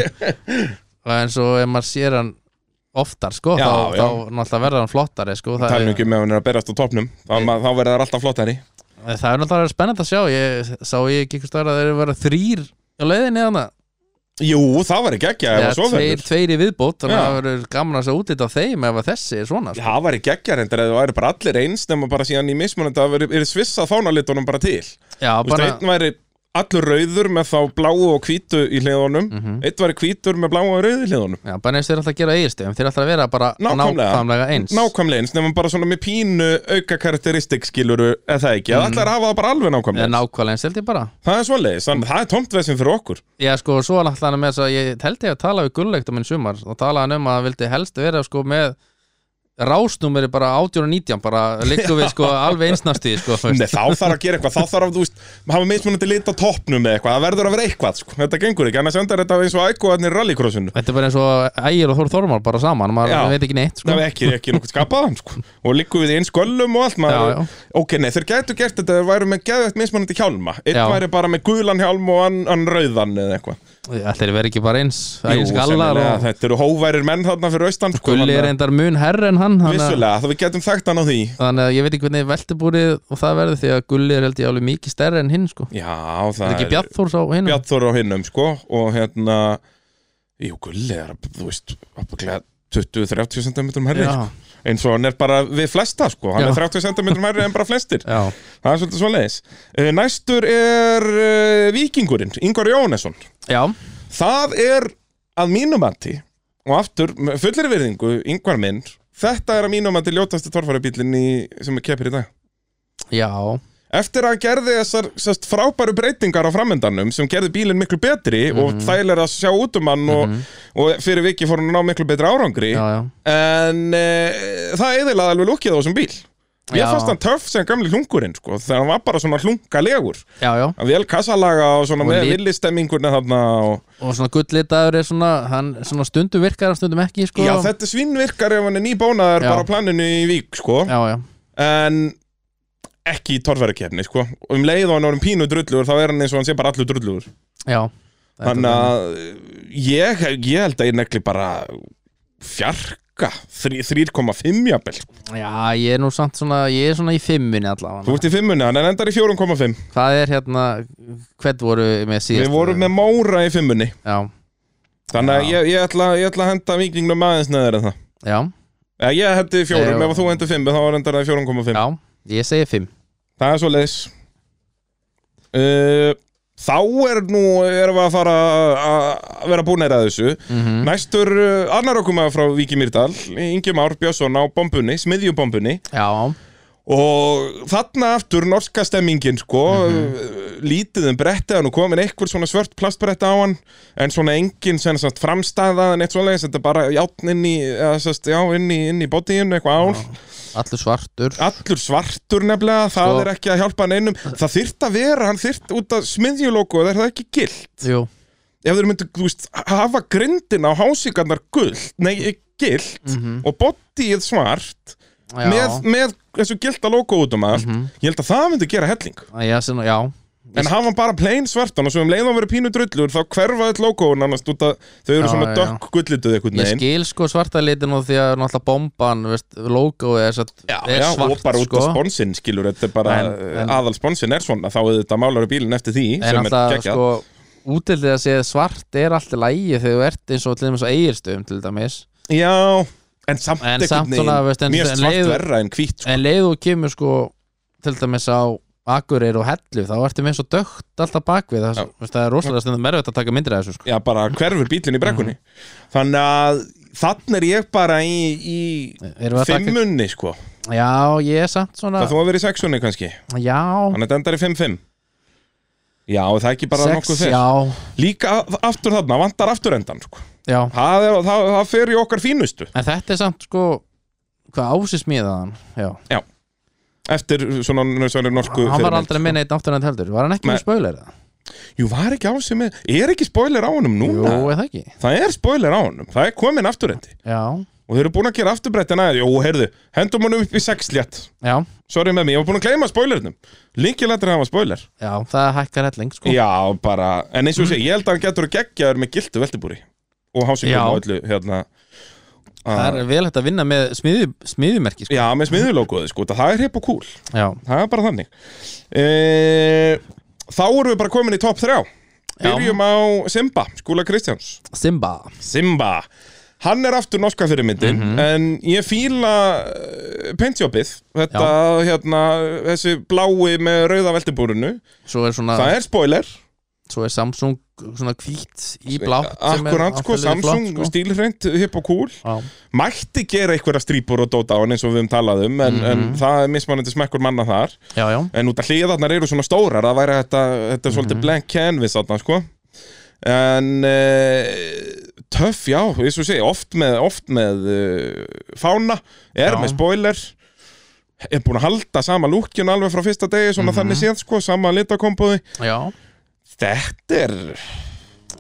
Speaker 2: En svo ef maður sér hann oftar sko,
Speaker 1: Já,
Speaker 2: þá,
Speaker 1: já.
Speaker 2: þá náttúrulega verður hann flottari sko, það,
Speaker 1: Það er
Speaker 2: er,
Speaker 1: nú ekki með hann er að berast á topnum þá, ma- þá verður það alltaf flottari
Speaker 2: Eh, það er náttúrulega spennandi að sjá ég, sá ég ekki eitthvað stöðar að þeir eru verið þrýr á leiðinni þannig
Speaker 1: Jú, það verður geggja ef að svo verður
Speaker 2: tveir, tveir í viðbót þannig
Speaker 1: Já.
Speaker 2: að það verður gaman að sjá útlita á þeim ef að þessi er svona sko.
Speaker 1: Það væri geggjarendar eða það væri bara allir eins nema bara síðan í mismunandi að veri, er svissa fánalitunum bara til Þú
Speaker 2: Já,
Speaker 1: veist,
Speaker 2: bara,
Speaker 1: einn væri allur rauður með þá bláu og hvítu í hliðunum
Speaker 2: Mhm.
Speaker 1: einn væri hvítur með bláu og rauðu í hliðunum
Speaker 2: já, bara eins þeir alltaf að gera eiginstöðum þeir alltaf að vera bara
Speaker 1: Nákvæmlega.
Speaker 2: nákvæmlega eins
Speaker 1: Nákvæmlega eins, nema bara svona með pínu auka karakteristik skiluru eða það ekki, mm.
Speaker 2: Mhm.
Speaker 1: allar hafa það bara alveg nákvæmlega
Speaker 2: Eða
Speaker 1: eins.
Speaker 2: nákvæmlega eins held ég bara
Speaker 1: Það er svoleiðis, þannig að það er tomt vesinn fyrir okkur
Speaker 2: Já, sko, svo er alltaf hann með þess að ég held ég að tala við gullegt um minn sumar og tala hann um að hann vildi helst vera sko með rásnúmeri bara 18 og 19 bara liggum við sko alveg einsnasti sko, þú
Speaker 1: Nei,
Speaker 2: veist.
Speaker 1: þá þarf að gera eitthvað, þá þarf að, þú veist, hafa mismunandi lit á toppnum eða eitthvað, það verður að vera eitthvað, sko, þetta gengur ekki, annars endar þetta eins og ægóðarnir rallycrossinu.
Speaker 2: Þetta er bara eins og ægir og Þór Þormar bara saman, maður
Speaker 1: Já.
Speaker 2: veit ekki neitt sko.
Speaker 1: Það er ekki, ekki nokkuð skapaðan sko. og líku við eins göllum og allt maður,
Speaker 2: Já, já.
Speaker 1: ok, nei, þeir gætu gert þetta þeir væru með geðvægt mismunandi hjálma einn
Speaker 2: Já.
Speaker 1: væri bara með gulan hjálm og ann, ann rauðan eða eitthvað
Speaker 2: Þetta er verið ekki bara eins
Speaker 1: Jú,
Speaker 2: ægir skallar
Speaker 1: sennilega,
Speaker 2: og
Speaker 1: þetta eru hóværir menn þarna fyrir austan sko,
Speaker 2: gulli er
Speaker 1: þannig
Speaker 2: reyndar mun herr en hann
Speaker 1: að-
Speaker 2: þannig að-
Speaker 1: vissulega, þá við getum þekkt hann á því
Speaker 2: þannig að ég veit ekki hvernig veltubúrið og það verður því að gulli er held ég alveg mikið stærri en hinn sko.
Speaker 1: já,
Speaker 2: Er
Speaker 1: það
Speaker 2: ekki Bjartþór sá hinn?
Speaker 1: Bjartþór á hinnum sko, og hérna jú, gulli er, þú veist, ábygglega 20-30 cm herri
Speaker 2: Já.
Speaker 1: sko. eins og hann er bara við flesta sko. hann
Speaker 2: Já.
Speaker 1: er 30 cm herri en bara flestir
Speaker 2: Já,
Speaker 1: Það er svolítið svoleiðis. Eh, Næstur er uh, vikingurinn, Ingvar Jónesson.
Speaker 2: já,
Speaker 1: Það er að mínumandi, og aftur, með fullri virðingu, Ingvar minn, þetta er að mínumandi ljótasti torfarabílinn í- sem er keppir í dag.
Speaker 2: já.
Speaker 1: Eftir að hann gerði þessar sest, frábæru breytingar á framöndanum sem gerði bílinn miklu betri
Speaker 2: Mhm.
Speaker 1: og þægilega að sjá út um hann og, og fyrir viki fór hann að ná miklu betri árangri
Speaker 2: já, já.
Speaker 1: en e, það eðilaði alveg lukkið á þessum bíl Mér
Speaker 2: Já.
Speaker 1: fannst hann töff sem gamli hlungurinn sko, þegar hann var bara svona hlungalegur
Speaker 2: já, já.
Speaker 1: Hann vel kassalaga og svona
Speaker 2: Og
Speaker 1: með
Speaker 2: lit.
Speaker 1: villistemmingurna þarna og...
Speaker 2: og svona gullitaður er svona, hann, svona stundum virkar, hann stundum ekki sko.
Speaker 1: Já, þetta svinnvirkar ef hann er nýbónaður
Speaker 2: Já.
Speaker 1: bara á planinu í vík sko
Speaker 2: já, já,
Speaker 1: en ekki í torfærakefni sko og um leið og hann er orðinn pínu drullugur þá er hann eins og hann sé bara allur drullugur
Speaker 2: já. Þetta
Speaker 1: Þannig
Speaker 2: er-
Speaker 1: að ég, ég held að ég negli bara fjarka þrí- 3,5 jafnvel
Speaker 2: já, ég er nú samt svona ég er svona í fimmunni
Speaker 1: Þú
Speaker 2: allavega
Speaker 1: ert í fimmunni, hann endar í 4,5
Speaker 2: hvað er hérna, hvern voru við með síðast
Speaker 1: Við vorum með Móra í fimmunni
Speaker 2: já,
Speaker 1: Þannig að
Speaker 2: Já.
Speaker 1: ég, ég, ætla, ég ætla að henda vikingnum aðeins neður en það
Speaker 2: já,
Speaker 1: Eða Ég hendi í fjórum,
Speaker 2: Nei,
Speaker 1: ef þú hendi fimm þá er endar það í 4,5
Speaker 2: já, ég segi fimm
Speaker 1: Það er svo leiðis Þá er nú erum við að fara að vera búinir að þessu
Speaker 2: Mhm.
Speaker 1: Næstur uh, annar okkur maður frá Víki Mýrdal Ingi Már Björnsson á bombunni, smiðjubombunni
Speaker 2: já,
Speaker 1: og þarna aftur norska stemmingin sko, mm lítið um brettið hann og komin einhver svona svört plastbretta á hann en svona engin sem sagt framstæða en eitt svoleiðis, þetta er bara játn inn í, eða, sest, já, inn í, inn í bodyinu eitthvað ál
Speaker 2: allur svartur
Speaker 1: allur svartur nefnilega, það
Speaker 2: Sko.
Speaker 1: er ekki að hjálpa neinum það þyrt að vera, hann þyrt út að smiðjulóku það er það ekki gilt
Speaker 2: jú,
Speaker 1: ef þeir myndu, þú veist, hafa grindin á hásíkarnar gult, nei, eh, gilt og bodyið svart
Speaker 2: Mhm. já, Mhm.
Speaker 1: með, með þessu gilda logo út um allt ég held að það myndi gera helling
Speaker 2: já, svona, já.
Speaker 1: en hafa hann bara plain svartan og svo um leiðan verið pínu drullur þá hverfa öll logoun annars út að þau eru
Speaker 2: Já,
Speaker 1: svona
Speaker 2: já.
Speaker 1: dökk gullituð eitthvað
Speaker 2: ég
Speaker 1: neginn
Speaker 2: skil sko svarta litin og því að náttúrulega bomban, veist, logo er, satt,
Speaker 1: Já,
Speaker 2: er
Speaker 1: já,
Speaker 2: svart
Speaker 1: og bara út
Speaker 2: sko.
Speaker 1: af sponsin skilur, þetta er bara
Speaker 2: En- en-
Speaker 1: aðal sponsin er svona, þá er þetta málar í bílinn eftir því
Speaker 2: en
Speaker 1: sem er
Speaker 2: alltaf
Speaker 1: geggjað.
Speaker 2: sko útildið að segja svart er alltaf lægi þegar þú ert eins og til dæmis á eigirstöðum til dæmis
Speaker 1: Já, en samt
Speaker 2: En
Speaker 1: einhvern
Speaker 2: samt
Speaker 1: veginn,
Speaker 2: svona, veist, en-
Speaker 1: Mér
Speaker 2: en
Speaker 1: er svart
Speaker 2: leið-
Speaker 1: verra en hvít sko.
Speaker 2: En leið og kemur sko til dæmis á Akureyri og Hellu þá ertu með svo dögt alltaf bakvið það,
Speaker 1: Já.
Speaker 2: veist, það er rosalega stundum erfitt að taka myndir af þessu sko.
Speaker 1: Já, bara hverfur bílinn í brekkunni
Speaker 2: Mhm.
Speaker 1: Þannig að þannig er ég bara í, í
Speaker 2: Erum við að taka- Ah.
Speaker 1: fimmunni sko
Speaker 2: Já, ég er samt svona
Speaker 1: Það þú að vera í sexunni kannski
Speaker 2: Já,
Speaker 1: Þannig að þetta endar í 5-5 Já, það er ekki bara nokkuð
Speaker 2: sex,
Speaker 1: fyrr
Speaker 2: já,
Speaker 1: Líka af- aftur þarna, vantar aftur endan sko.
Speaker 2: já
Speaker 1: það, er, það, það fer í okkar fínustu
Speaker 2: En þetta er samt sko hvað ási smíðaðan já.
Speaker 1: Eftir svona, svona norsku
Speaker 2: Hann var
Speaker 1: fyrirmynd,
Speaker 2: aldrei
Speaker 1: sko.
Speaker 2: með neitt náttúrulega heldur Var hann ekki
Speaker 1: Nei.
Speaker 2: með spoiler?
Speaker 1: Jú, var ekki á sig með Er ekki spoiler á honum
Speaker 2: Jú,
Speaker 1: núna?
Speaker 2: eða ekki
Speaker 1: Það er spoiler á honum, það er komin afturrendi
Speaker 2: Já,
Speaker 1: Og þeir eru búin að gera afturbrettina Jó, heyrðu, hendum honum upp í sexlétt
Speaker 2: já,
Speaker 1: Sorry með mig, ég var búin að gleyma spoilernum Linkilættir hafa spoiler
Speaker 2: já, það hækkar helling sko.
Speaker 1: Já, bara, en eins og sé, ég held að hann getur að gegja þér með gildu veltibúri Og hásingum
Speaker 2: Já.
Speaker 1: og öllu, hérna
Speaker 2: Það
Speaker 1: að-
Speaker 2: er vel hægt að vinna með smiði, smiðumerki sko.
Speaker 1: Já, með smiðulókuðu, sko, það er hip og cool
Speaker 2: Já,
Speaker 1: Það er bara þannig e Þá erum við bara komin í topp 3
Speaker 2: Já.
Speaker 1: Byrjum á Simba, Skúla Kristjáns
Speaker 2: Simba
Speaker 1: Simba Hann er aftur norska fyrirmyndin
Speaker 2: Mhm.
Speaker 1: En ég fíla uh, paintjobbið Þetta, hérna, þessi blái með rauða veltibúrinu
Speaker 2: Svo er svona
Speaker 1: Það er spoiler
Speaker 2: svo er Samsung svona hvítt í blátt sem er
Speaker 1: Akkurát, sko,
Speaker 2: alltaf liðið
Speaker 1: Samsung,
Speaker 2: flott,
Speaker 1: stílhreint, hipp og cool
Speaker 2: Já.
Speaker 1: Mætti gera einhverja strípur og dóta á hann eins og við um talaðum En,
Speaker 2: Mhm.
Speaker 1: en það er mismanandi smekkur manna þar
Speaker 2: já, já,
Speaker 1: En út af hliðarnar eru svona stórar Það væri þetta, þetta er
Speaker 2: Mhm.
Speaker 1: svolítið blank canvas þarna, sko En uh, töff, já, eins og sé, oft með, oft með uh, fána, er
Speaker 2: Já.
Speaker 1: með spoiler er búin að halda sama lúkinu alveg frá fyrsta degi, svona þannig
Speaker 2: Mhm.
Speaker 1: séð, sko, sama litakombóði.
Speaker 2: já
Speaker 1: Þetta er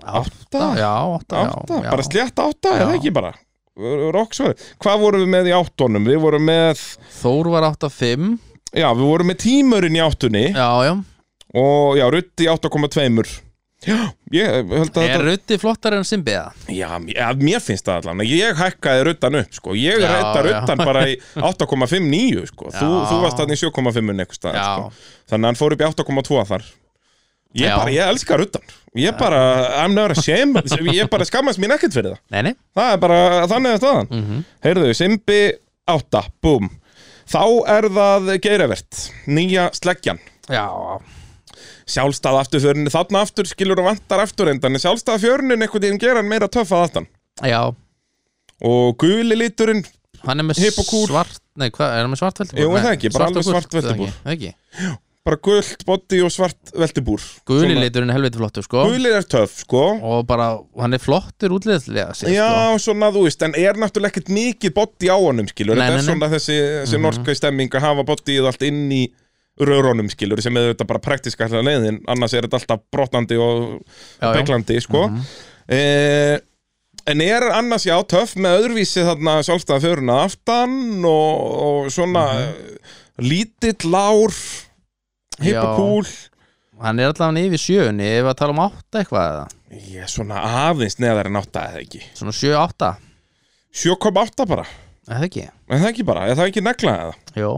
Speaker 2: átta, já, átta,
Speaker 1: átta,
Speaker 2: já, já.
Speaker 1: bara slétt átta,
Speaker 2: Já.
Speaker 1: eða ekki bara Roksverð. Hvað vorum við með í áttunum? Við vorum með,
Speaker 2: Þór var átta fimm
Speaker 1: já, við vorum með tímurinn í áttunni
Speaker 2: já, já,
Speaker 1: og já, rutt í 8,2 Já, ég held að
Speaker 2: er Rutti flottar en Simbi eða?
Speaker 1: Já, mér- ja, mér finnst það allan Ég hækkaði ruttan upp, sko Ég
Speaker 2: Já,
Speaker 1: hætta
Speaker 2: já.
Speaker 1: ruttan bara í 8,59 sko. þú,
Speaker 2: Já.
Speaker 1: þú varst þarna í 7,5 einhver stað,
Speaker 2: Já.
Speaker 1: sko. Þannig að hann fór upp í 8,2 þar Ég,
Speaker 2: Já.
Speaker 1: bara, ég elska ruttan Ég bara, I'm not ashamed Ég bara skammast mín ekkert fyrir það
Speaker 2: Nei, nei,
Speaker 1: Það er bara, þannig er staðan mm
Speaker 2: Mhm.
Speaker 1: -hmm. Heyrðu, Simbi 8, búm Þá er það geiravert Nýja sleggjan
Speaker 2: já,
Speaker 1: Sjálfstæð afturfjörunin Þarna aftur skilur og vantar aftur endan Sjálfstæð fjörunin einhvern veginn gera hann meira töff að aftan
Speaker 2: já
Speaker 1: Og guli liturinn
Speaker 2: Hann er með
Speaker 1: Hipp og kúl.
Speaker 2: svart, nei, hvað, er hann með svart veltibúr?
Speaker 1: Jú, er
Speaker 2: Nei,
Speaker 1: það ekki, bara
Speaker 2: svart og
Speaker 1: alveg svart
Speaker 2: gult, er það
Speaker 1: veltibúr.
Speaker 2: ekki? Er það ekki?
Speaker 1: bara gult body og svart veltibúr
Speaker 2: Guli liturinn er helviti flottur, sko
Speaker 1: Guli er töff, sko
Speaker 2: Og bara, hann er flottur sko. útliðslega séð,
Speaker 1: Já, svona þú veist, en er náttúrulega ekkert mikið body á honum, skilur
Speaker 2: Nei,
Speaker 1: Þetta er
Speaker 2: nei, Mhm. nei.
Speaker 1: svona þessi, þessi norska stemming að hafa bodyið allt inn í rörunum, skilur sem er þetta bara praktiska allar leiðin annars er þetta alltaf brotnandi og
Speaker 2: Já, Mhm. já.
Speaker 1: peglandi, sko eh, En er annars, já, töff með öðruvísi þarna sjálfstæða fjöruna aftan og, og svona
Speaker 2: Mhm.
Speaker 1: eh, lítill lár hipp
Speaker 2: Já.
Speaker 1: og kúl
Speaker 2: sko Hann er allavega yfir sjöunni, ef að tala um átta eitthvað eða
Speaker 1: Ég er svona aðeins neðar en átta eða ekki
Speaker 2: Svona sjö átta,
Speaker 1: 7,8 bara,
Speaker 2: er það ekki?
Speaker 1: en það ekki bara, er það ekki negla eða
Speaker 2: Jó,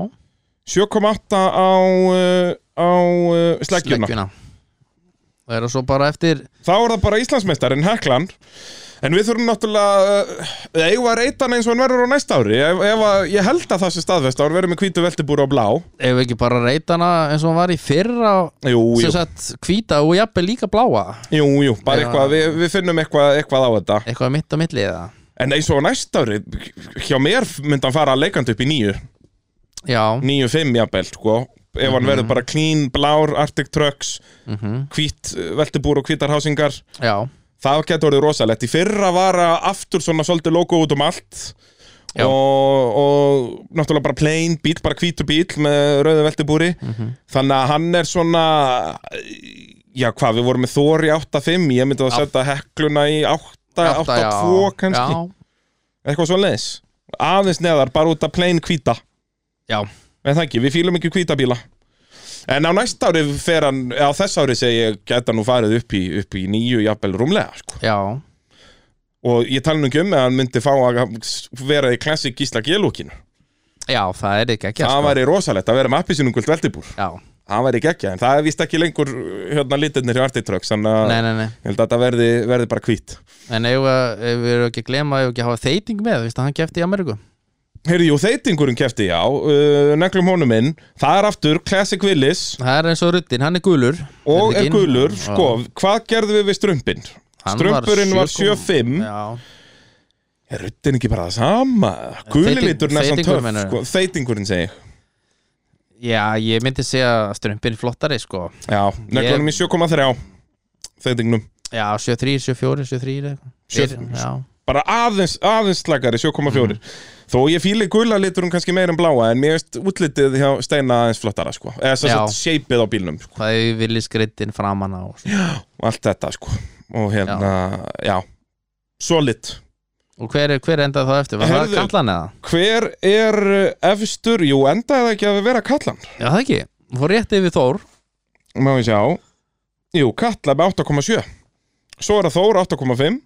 Speaker 1: 7,8 á, uh, á uh, sleggjuna
Speaker 2: sleggjuna Það er það svo bara eftir
Speaker 1: Þá er það bara Íslandsmeistarinn Heklan En við þurfum náttúrulega uh, eigum að reyta hann eins og hann verður á næsta ári ef, ef að, Ég held að það sé staðfest að hann verður með hvítu veltibúru og blá
Speaker 2: ef við ekki bara reyta hana eins og hann var í fyrra
Speaker 1: Jú,
Speaker 2: sem
Speaker 1: jú,
Speaker 2: sagt hvíta og jafnvel líka bláa
Speaker 1: jú, jú bara
Speaker 2: Já.
Speaker 1: eitthvað, við, við finnum eitthvað, eitthvað á þetta
Speaker 2: eitthvað mitt á milli eða
Speaker 1: En eins og á næsta ári, hjá mér myndi hann fara leikandi upp í nýju
Speaker 2: já,
Speaker 1: 9-5 jafnvel sko ef hann
Speaker 2: Mhm.
Speaker 1: verður bara clean, blár, arctic trucks
Speaker 2: mm
Speaker 1: hvít eh, veltibúr og hvítar hásingar
Speaker 2: já,
Speaker 1: það getur orðið rosalegt í fyrra var að aftur svona svolítið logo út um allt
Speaker 2: Já.
Speaker 1: og, og náttúrulega bara plain bíl, bara hvítur bíl með rauðu veltibúri
Speaker 2: Mhm.
Speaker 1: þannig að hann er svona já hvað, við vorum með Thor í 8-5 ég myndi að
Speaker 2: Já.
Speaker 1: setja hekluna í 8
Speaker 2: átta, já.
Speaker 1: 8-2 kannski,
Speaker 2: já,
Speaker 1: eitthvað svo leis aðeins neðar, bara út af plain hvíta
Speaker 2: já,
Speaker 1: En það ekki, við fýlum ekki hvítabíla En á næsta ári fer hann Á þess ári segi ég geta nú farið upp í, upp í nýju jafnvel rúmlega sko.
Speaker 2: já,
Speaker 1: Og ég tala nú ekki um að hann myndi fá að vera í klassik Gísla Gélúkinu
Speaker 2: já það er ekki ekki
Speaker 1: Það
Speaker 2: sko.
Speaker 1: væri rosalegt að vera með appisinungult veltibúr
Speaker 2: já,
Speaker 1: hann væri geggja, en það er vist ekki lengur hérna litirnir í artitröks þannig að
Speaker 2: Nei, nei, nei,
Speaker 1: ég held að þetta verði, verði bara hvít
Speaker 2: en ef, að- ef við erum ekki að glema ef við ekki að hafa þeiting með, víst að hann kefti í Ameríku
Speaker 1: Heyrðu, jú, þeitingurinn kefti, já, uh, neglum honum inn, það er aftur Classic Willis
Speaker 2: Það er eins og ruddin, hann er gulur
Speaker 1: og er
Speaker 2: Er þetta ekki inn?
Speaker 1: gulur, sko, hvað gerðum við við strumpinn?
Speaker 2: Hann var
Speaker 1: Strumpurinn var
Speaker 2: 7,5.
Speaker 1: 7,5
Speaker 2: Já,
Speaker 1: Er ruttin ekki bara það sama? Guli
Speaker 2: Þeyting-
Speaker 1: litur næstan
Speaker 2: þeytingur
Speaker 1: töff,
Speaker 2: meinarðu?
Speaker 1: sko, þeitingurinn segi ég.
Speaker 2: já ég myndi segja að strumpin er flottari sko
Speaker 1: Já, neglunum í 7,3 Þeitingnum
Speaker 2: Já, 73, 74, 73
Speaker 1: Sjö-
Speaker 2: Fyrir- Já,
Speaker 1: Bara aðeins, aðeins slagari, 7,4 Þó ég fíli gula liturum kannski meira en bláa En mér veist útlitið hjá Steina aðeins flottara sko. Eða svo
Speaker 2: Já.
Speaker 1: sett shapeið á bílnum sko.
Speaker 2: hvað er villi skreitin framan á og svona.
Speaker 1: Og Allt þetta sko Og hérna, já, Solid
Speaker 2: Og hver, er- hver endaði það eftir? Var það
Speaker 1: Herðu.
Speaker 2: kallan eða?
Speaker 1: Hver er uh, efstur? Jú, endaði það ekki að vera kallan
Speaker 2: Já, það ekki, hún fór rétt yfir Þór
Speaker 1: Má ég sjá Jú, Katla með 8,7 Svo er það Þór 8,5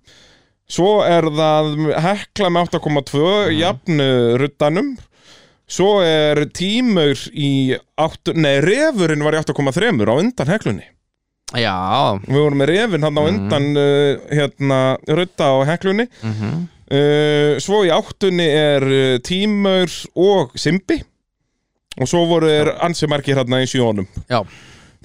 Speaker 1: Svo er það Hekla með 8,2 mm. Jafn uh, ruddanum Svo er tímur í 8, Nei, refurinn var í 8,3 á undan heklunni
Speaker 2: Já,
Speaker 1: Við vorum með refin hann á undan uh, hérna, rudda á heklunni
Speaker 2: mm
Speaker 1: uh, Svo í áttunni er uh, tímur og simbi Og svo voru er ansi margir hérna í sjónum
Speaker 2: já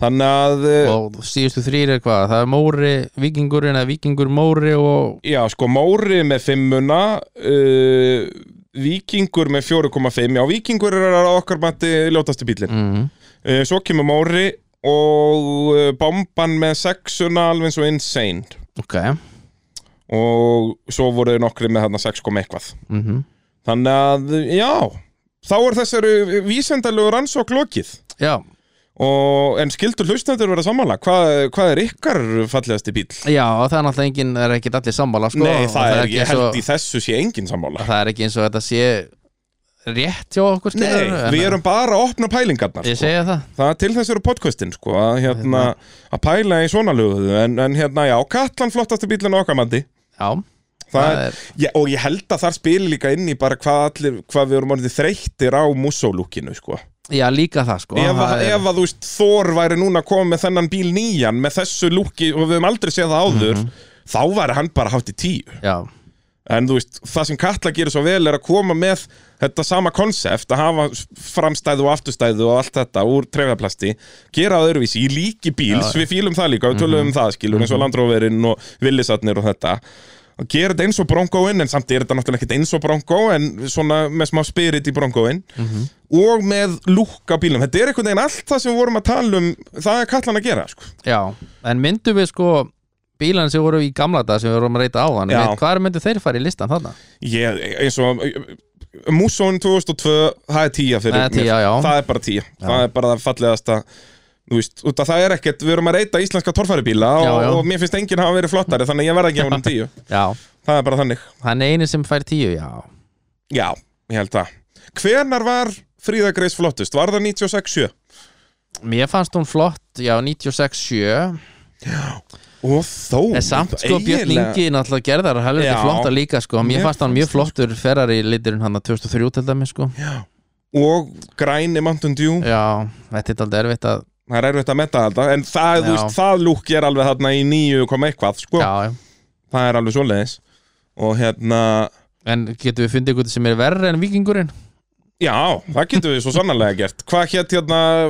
Speaker 1: Þannig að uh,
Speaker 2: Og síðustu þrýr er hvað? Það er Móri, Víkingurinn eða Víkingur Móri og
Speaker 1: Já, sko, Móri með fimmuna uh, Víkingur með 4,5 Já, Víkingur er að okkar mati ljótastu bílinn
Speaker 2: mm.
Speaker 1: uh, Svo kemur Móri og uh, Bomban með sexuna alveg eins og Insane
Speaker 2: Ok
Speaker 1: og svo voru nokkri með þarna 6, eitthvað
Speaker 2: mm
Speaker 1: Þannig að, já þá er þessari vísendalegu rannsók lokið
Speaker 2: Já,
Speaker 1: og, en skildur hlustendur vera sammála hvað, hvað er ykkar fallegasti bíl?
Speaker 2: já og það er náttúrulega engin, er ekkit allir sammála sko
Speaker 1: Nei,
Speaker 2: og
Speaker 1: það er, ég
Speaker 2: eins og-
Speaker 1: held í þessu sé engin sammála
Speaker 2: Það er ekki eins og þetta sé rétt hjá okkur
Speaker 1: Nei,
Speaker 2: skilurðu, en-
Speaker 1: við erum bara að sko. opna pælingarnar
Speaker 2: Ég segja það
Speaker 1: það til þess eru podcastin sko, að, hérna, að pæla í svona löguðu en, en hérna já, Katlan flottasti bílinn okkar mandi
Speaker 2: Já,
Speaker 1: það, ég, og ég held að þar spili líka inn í bara hvað, allir, hvað við erum orðið þreyttir á mússólúkinu sko.
Speaker 2: já líka það sko
Speaker 1: ef,
Speaker 2: það
Speaker 1: að-
Speaker 2: er-
Speaker 1: ef að þú veist Þór væri núna komið með þennan bíl nýjan með þessu lúki og við höfum aldrei séð það áður þá væri hann bara hátt í tíu
Speaker 2: Já,
Speaker 1: en þú veist, það sem Katla gerir svo vel er að koma með þetta sama konsept að hafa framstæðu og afturstæðu og allt þetta úr trefjaplasti gera það öðruvísi í líki bíls við fílum það líka, við tölum um það skilur eins og landróverinn og villisatnir og þetta og gera þetta eins og brongoinn en samt er þetta náttúrulega ekkert eins og brongo en svona með smá spirit í brongoinn og með lúka bílum þetta er einhvern veginn allt það sem við vorum að tala um það er Katlan að gera sko.
Speaker 2: já En myndum við sko bílan sem voru í gamla dag sem við vorum að reyta á þann
Speaker 1: Já.
Speaker 2: Hvað myndu þeir fara í listan þarna?
Speaker 1: Ég, eins og eh, Mússón 2002, það er tíja fyrir
Speaker 2: Það er
Speaker 1: mér.
Speaker 2: tíja, já.
Speaker 1: Það er bara tíja, það er bara það fallegasta Þú veist, út að það er ekkert, við erum að reyta íslenska torfæribíla og,
Speaker 2: Já, já.
Speaker 1: og mér finnst enginn hafa verið flottari þannig að ég verð ekki á honum tíu
Speaker 2: Já,
Speaker 1: Það er bara þannig,
Speaker 2: hann er eini sem fær tíu, já
Speaker 1: já, ég held það Hvenar var Fríða Greis flottust? Var það 96-7?
Speaker 2: Mér fannst hún flott, já, 96-7
Speaker 1: Og þó
Speaker 2: En samt sko Björn
Speaker 1: eiginlega-
Speaker 2: Ingi náttúrulega gerðar helviti
Speaker 1: Já.
Speaker 2: flottar líka sko Mér
Speaker 1: Mér
Speaker 2: fannst hann
Speaker 1: fannst
Speaker 2: mjög
Speaker 1: það,
Speaker 2: flottur Ferrari liturinn hann að 2003 til dæmi sko
Speaker 1: Og græni Mountain Dew
Speaker 2: Já, þetta er aldrei erfitt að
Speaker 1: Það er erfitt að metta þetta En það, þú
Speaker 2: Já.
Speaker 1: veist, það lúk er alveg þarna í 9, eitthvað sko.
Speaker 2: Já, já
Speaker 1: Það er alveg svoleiðis Og hérna,
Speaker 2: En getum við fundið eitthvað sem er verri en vikingurinn?
Speaker 1: Já, það getum við svo sannarlega gert Hvað hétt hérna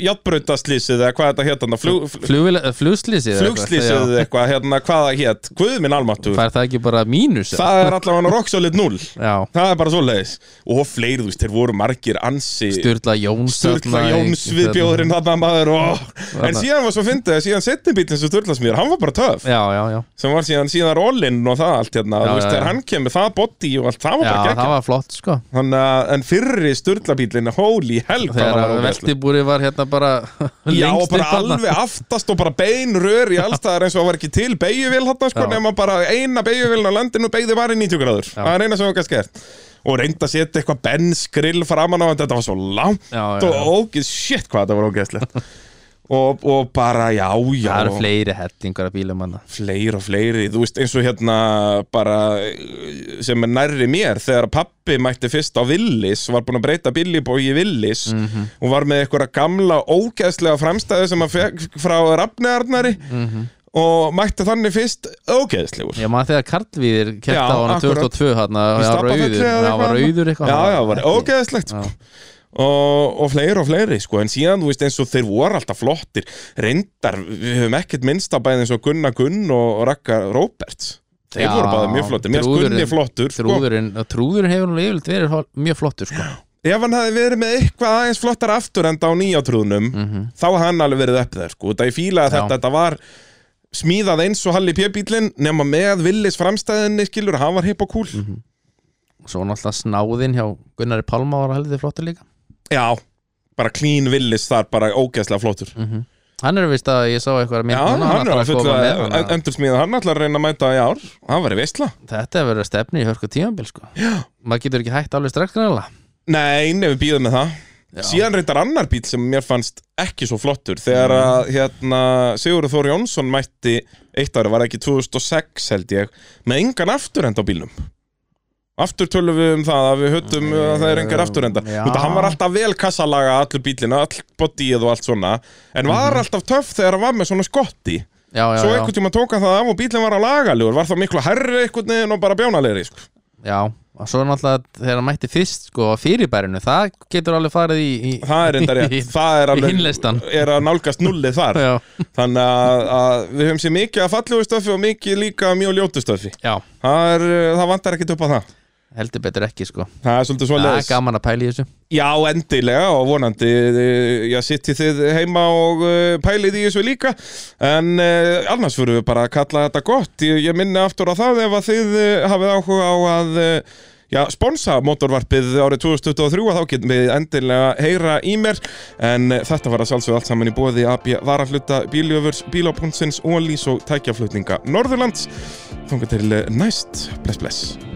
Speaker 1: Játbrautaslýsið eða hvað þetta hétt hérna flug, flug,
Speaker 2: Flugvél- eh, Flugslýsið? eða eitthvað,
Speaker 1: Flugslýsið eða eitthvað hérna hvað það hétt Guðminn
Speaker 2: já.
Speaker 1: almattur
Speaker 2: Fær það ekki bara mínus? eða?
Speaker 1: Það er allavega rock solid 0
Speaker 2: Já,
Speaker 1: Það er bara svoleiðis Og fleiri, þú veist, þeir voru margir ansi
Speaker 2: Sturla Jóns
Speaker 1: Sturla
Speaker 2: þarna í-
Speaker 1: Jóns viðbjóðurinn þarna maður og... En síðan var svo fyndið að síðan setnibítin sem Sturla smýr, hann var bara töf
Speaker 2: Já, já, já
Speaker 1: sem var síðan síðan rollinn og það allt hérna
Speaker 2: Já,
Speaker 1: Þú veist,
Speaker 2: já,
Speaker 1: þegar
Speaker 2: já.
Speaker 1: hann kemur það body og allt, það var
Speaker 2: Já,
Speaker 1: bara
Speaker 2: það
Speaker 1: geggjað
Speaker 2: var flott sko
Speaker 1: Þannig að, en fyrri sturlabílinn, holy hell hvað hann var
Speaker 2: Þegar
Speaker 1: ógeðslegur.
Speaker 2: veltibúri var hérna bara
Speaker 1: Já, og
Speaker 2: lengst
Speaker 1: bara
Speaker 2: upp þarna.
Speaker 1: alveg aftast og bara bein rör í allstaðar eins og það var ekki til beigjuvél hann sko,
Speaker 2: Já.
Speaker 1: nema bara eina beigjuvilna landinu beigði var í 90 gráður, það er eina sem var kannski gert og reynda að setja eitthvað benskrill framan á þetta, þetta var svo langt
Speaker 2: Já, já, já.
Speaker 1: og ógeð, shit hvað þetta var ógeðslegt og, og bara já, já
Speaker 2: það eru fleiri hettingar af bílum hann
Speaker 1: fleiri og fleiri, þú veist eins og hérna bara eh, sem er nærri mér þegar pappi mætti fyrst á Willis var búin að breyta bílibói í Willis og var með einhverja gamla ógeðslega framstæðu sem að fekk frá rafnearnari og mætti þannig fyrst ógeðslegur
Speaker 2: Ég maður þegar Karlvíðir kæft
Speaker 1: Já,
Speaker 2: á hana
Speaker 1: akkurat.
Speaker 2: 2002 hann að
Speaker 1: Í
Speaker 2: hann var
Speaker 1: Stapafjalli
Speaker 2: auður
Speaker 1: eða
Speaker 2: hann
Speaker 1: eitthvað
Speaker 2: var auður
Speaker 1: annað?
Speaker 2: eitthvað
Speaker 1: hérna. Já, já, var ógeðslegt sko. og, og fleiri og fleiri sko. en síðan, þú veist, eins og þeir voru alltaf flottir reyndar, við höfum ekkert minnst að bæði eins og Gunna Gunn og Raka Roberts þeir
Speaker 2: Já,
Speaker 1: voru bæði mjög flottir mér finnst
Speaker 2: Þrúðurinn-
Speaker 1: Gunni flottur sko.
Speaker 2: Trúðurinn, trúðurinn hefur nú yfirleitt verið hol- mjög flottur sko
Speaker 1: ef hann hefði verið með eitthvað aðeins flottar aftur enda á nýjátrúðnum mm
Speaker 2: Mhm.
Speaker 1: þá hafði hann alveg verið upp þeir sko. það ég fílaði
Speaker 2: Já.
Speaker 1: þetta, þetta var smíðað eins og Halli P-bílinn nema með Willis framstæðinni skilur, hann var hipp og cool
Speaker 2: Mhm. Svo náttúrulega snáðinn hjá Gunnari Palma var heldur flottur líka
Speaker 1: já, bara clean Willis þar bara ógeðslega flottur
Speaker 2: Mhm. Hann er vist að ég sá eitthvað
Speaker 1: Já, hann, er að fulla endursmíða hann ætlar að reyna að mæta í ár hann verið veistla
Speaker 2: Þetta hefur verið stefni í hörku tímabil sko Já Maður getur ekki hægt alveg strax grannlega
Speaker 1: Nei, nei, við býðum með það Síðan reyndar annar bíl sem mér fannst ekki svo flottur þegar
Speaker 2: Mhm.
Speaker 1: að hérna, Sigurður Þór Jónsson mætti eitt ári, var það ekki 2006 held ég með engan afturrend á bílnum Aftur tölum við um það að við höttum
Speaker 2: Mm,
Speaker 1: að það er engar afturrendar
Speaker 2: já.
Speaker 1: Þetta hann var alltaf vel kassalaga allur bílina, all bodyið og allt svona en var
Speaker 2: Mhm.
Speaker 1: alltaf töff þegar hann var með svona skotti
Speaker 2: Já, já,
Speaker 1: Svo
Speaker 2: já,
Speaker 1: einhvern tíma tók hann það af og bílinn var á lagaljur Var þá miklu herri einhvern veginn og bara bjánalegri sko.
Speaker 2: já Og svo náttúrulega þegar hann mætti fyrst sko á fyrirbærinu Það getur alveg farið í, í
Speaker 1: Það er enda rétt Það er,
Speaker 2: Í hinleistan.
Speaker 1: alveg, er að nálgast nullið þar
Speaker 2: Já,
Speaker 1: Þannig að, að við höfum sér mikið af fallegu stöfi og mikið líka af mjög ljótu stöfi
Speaker 2: já,
Speaker 1: Það, er, uh, það vantar ekkert upp á það
Speaker 2: heldur betur ekki sko
Speaker 1: Það er svolítið
Speaker 2: Það er
Speaker 1: svoleiðis
Speaker 2: gaman að pæla í þessu
Speaker 1: Já, endilega og vonandi uh, Já, sittið þið heima og uh, pælið í þessu líka En uh, annars fyrir við bara að kalla þetta gott Ég, ég minni aftur á það ef að þið uh, hafið áhuga á að uh, Já, sponsa motorvarpið árið 2023 og þá getum við endilega heyra í mér en uh, þetta var að sjálfsögðu allt saman í bóði AB varafluta bíljöfurs, bílá.sins, ólís og tækjaflutninga Norðurlands. Þungar til uh, eh, næst. Bless, bless.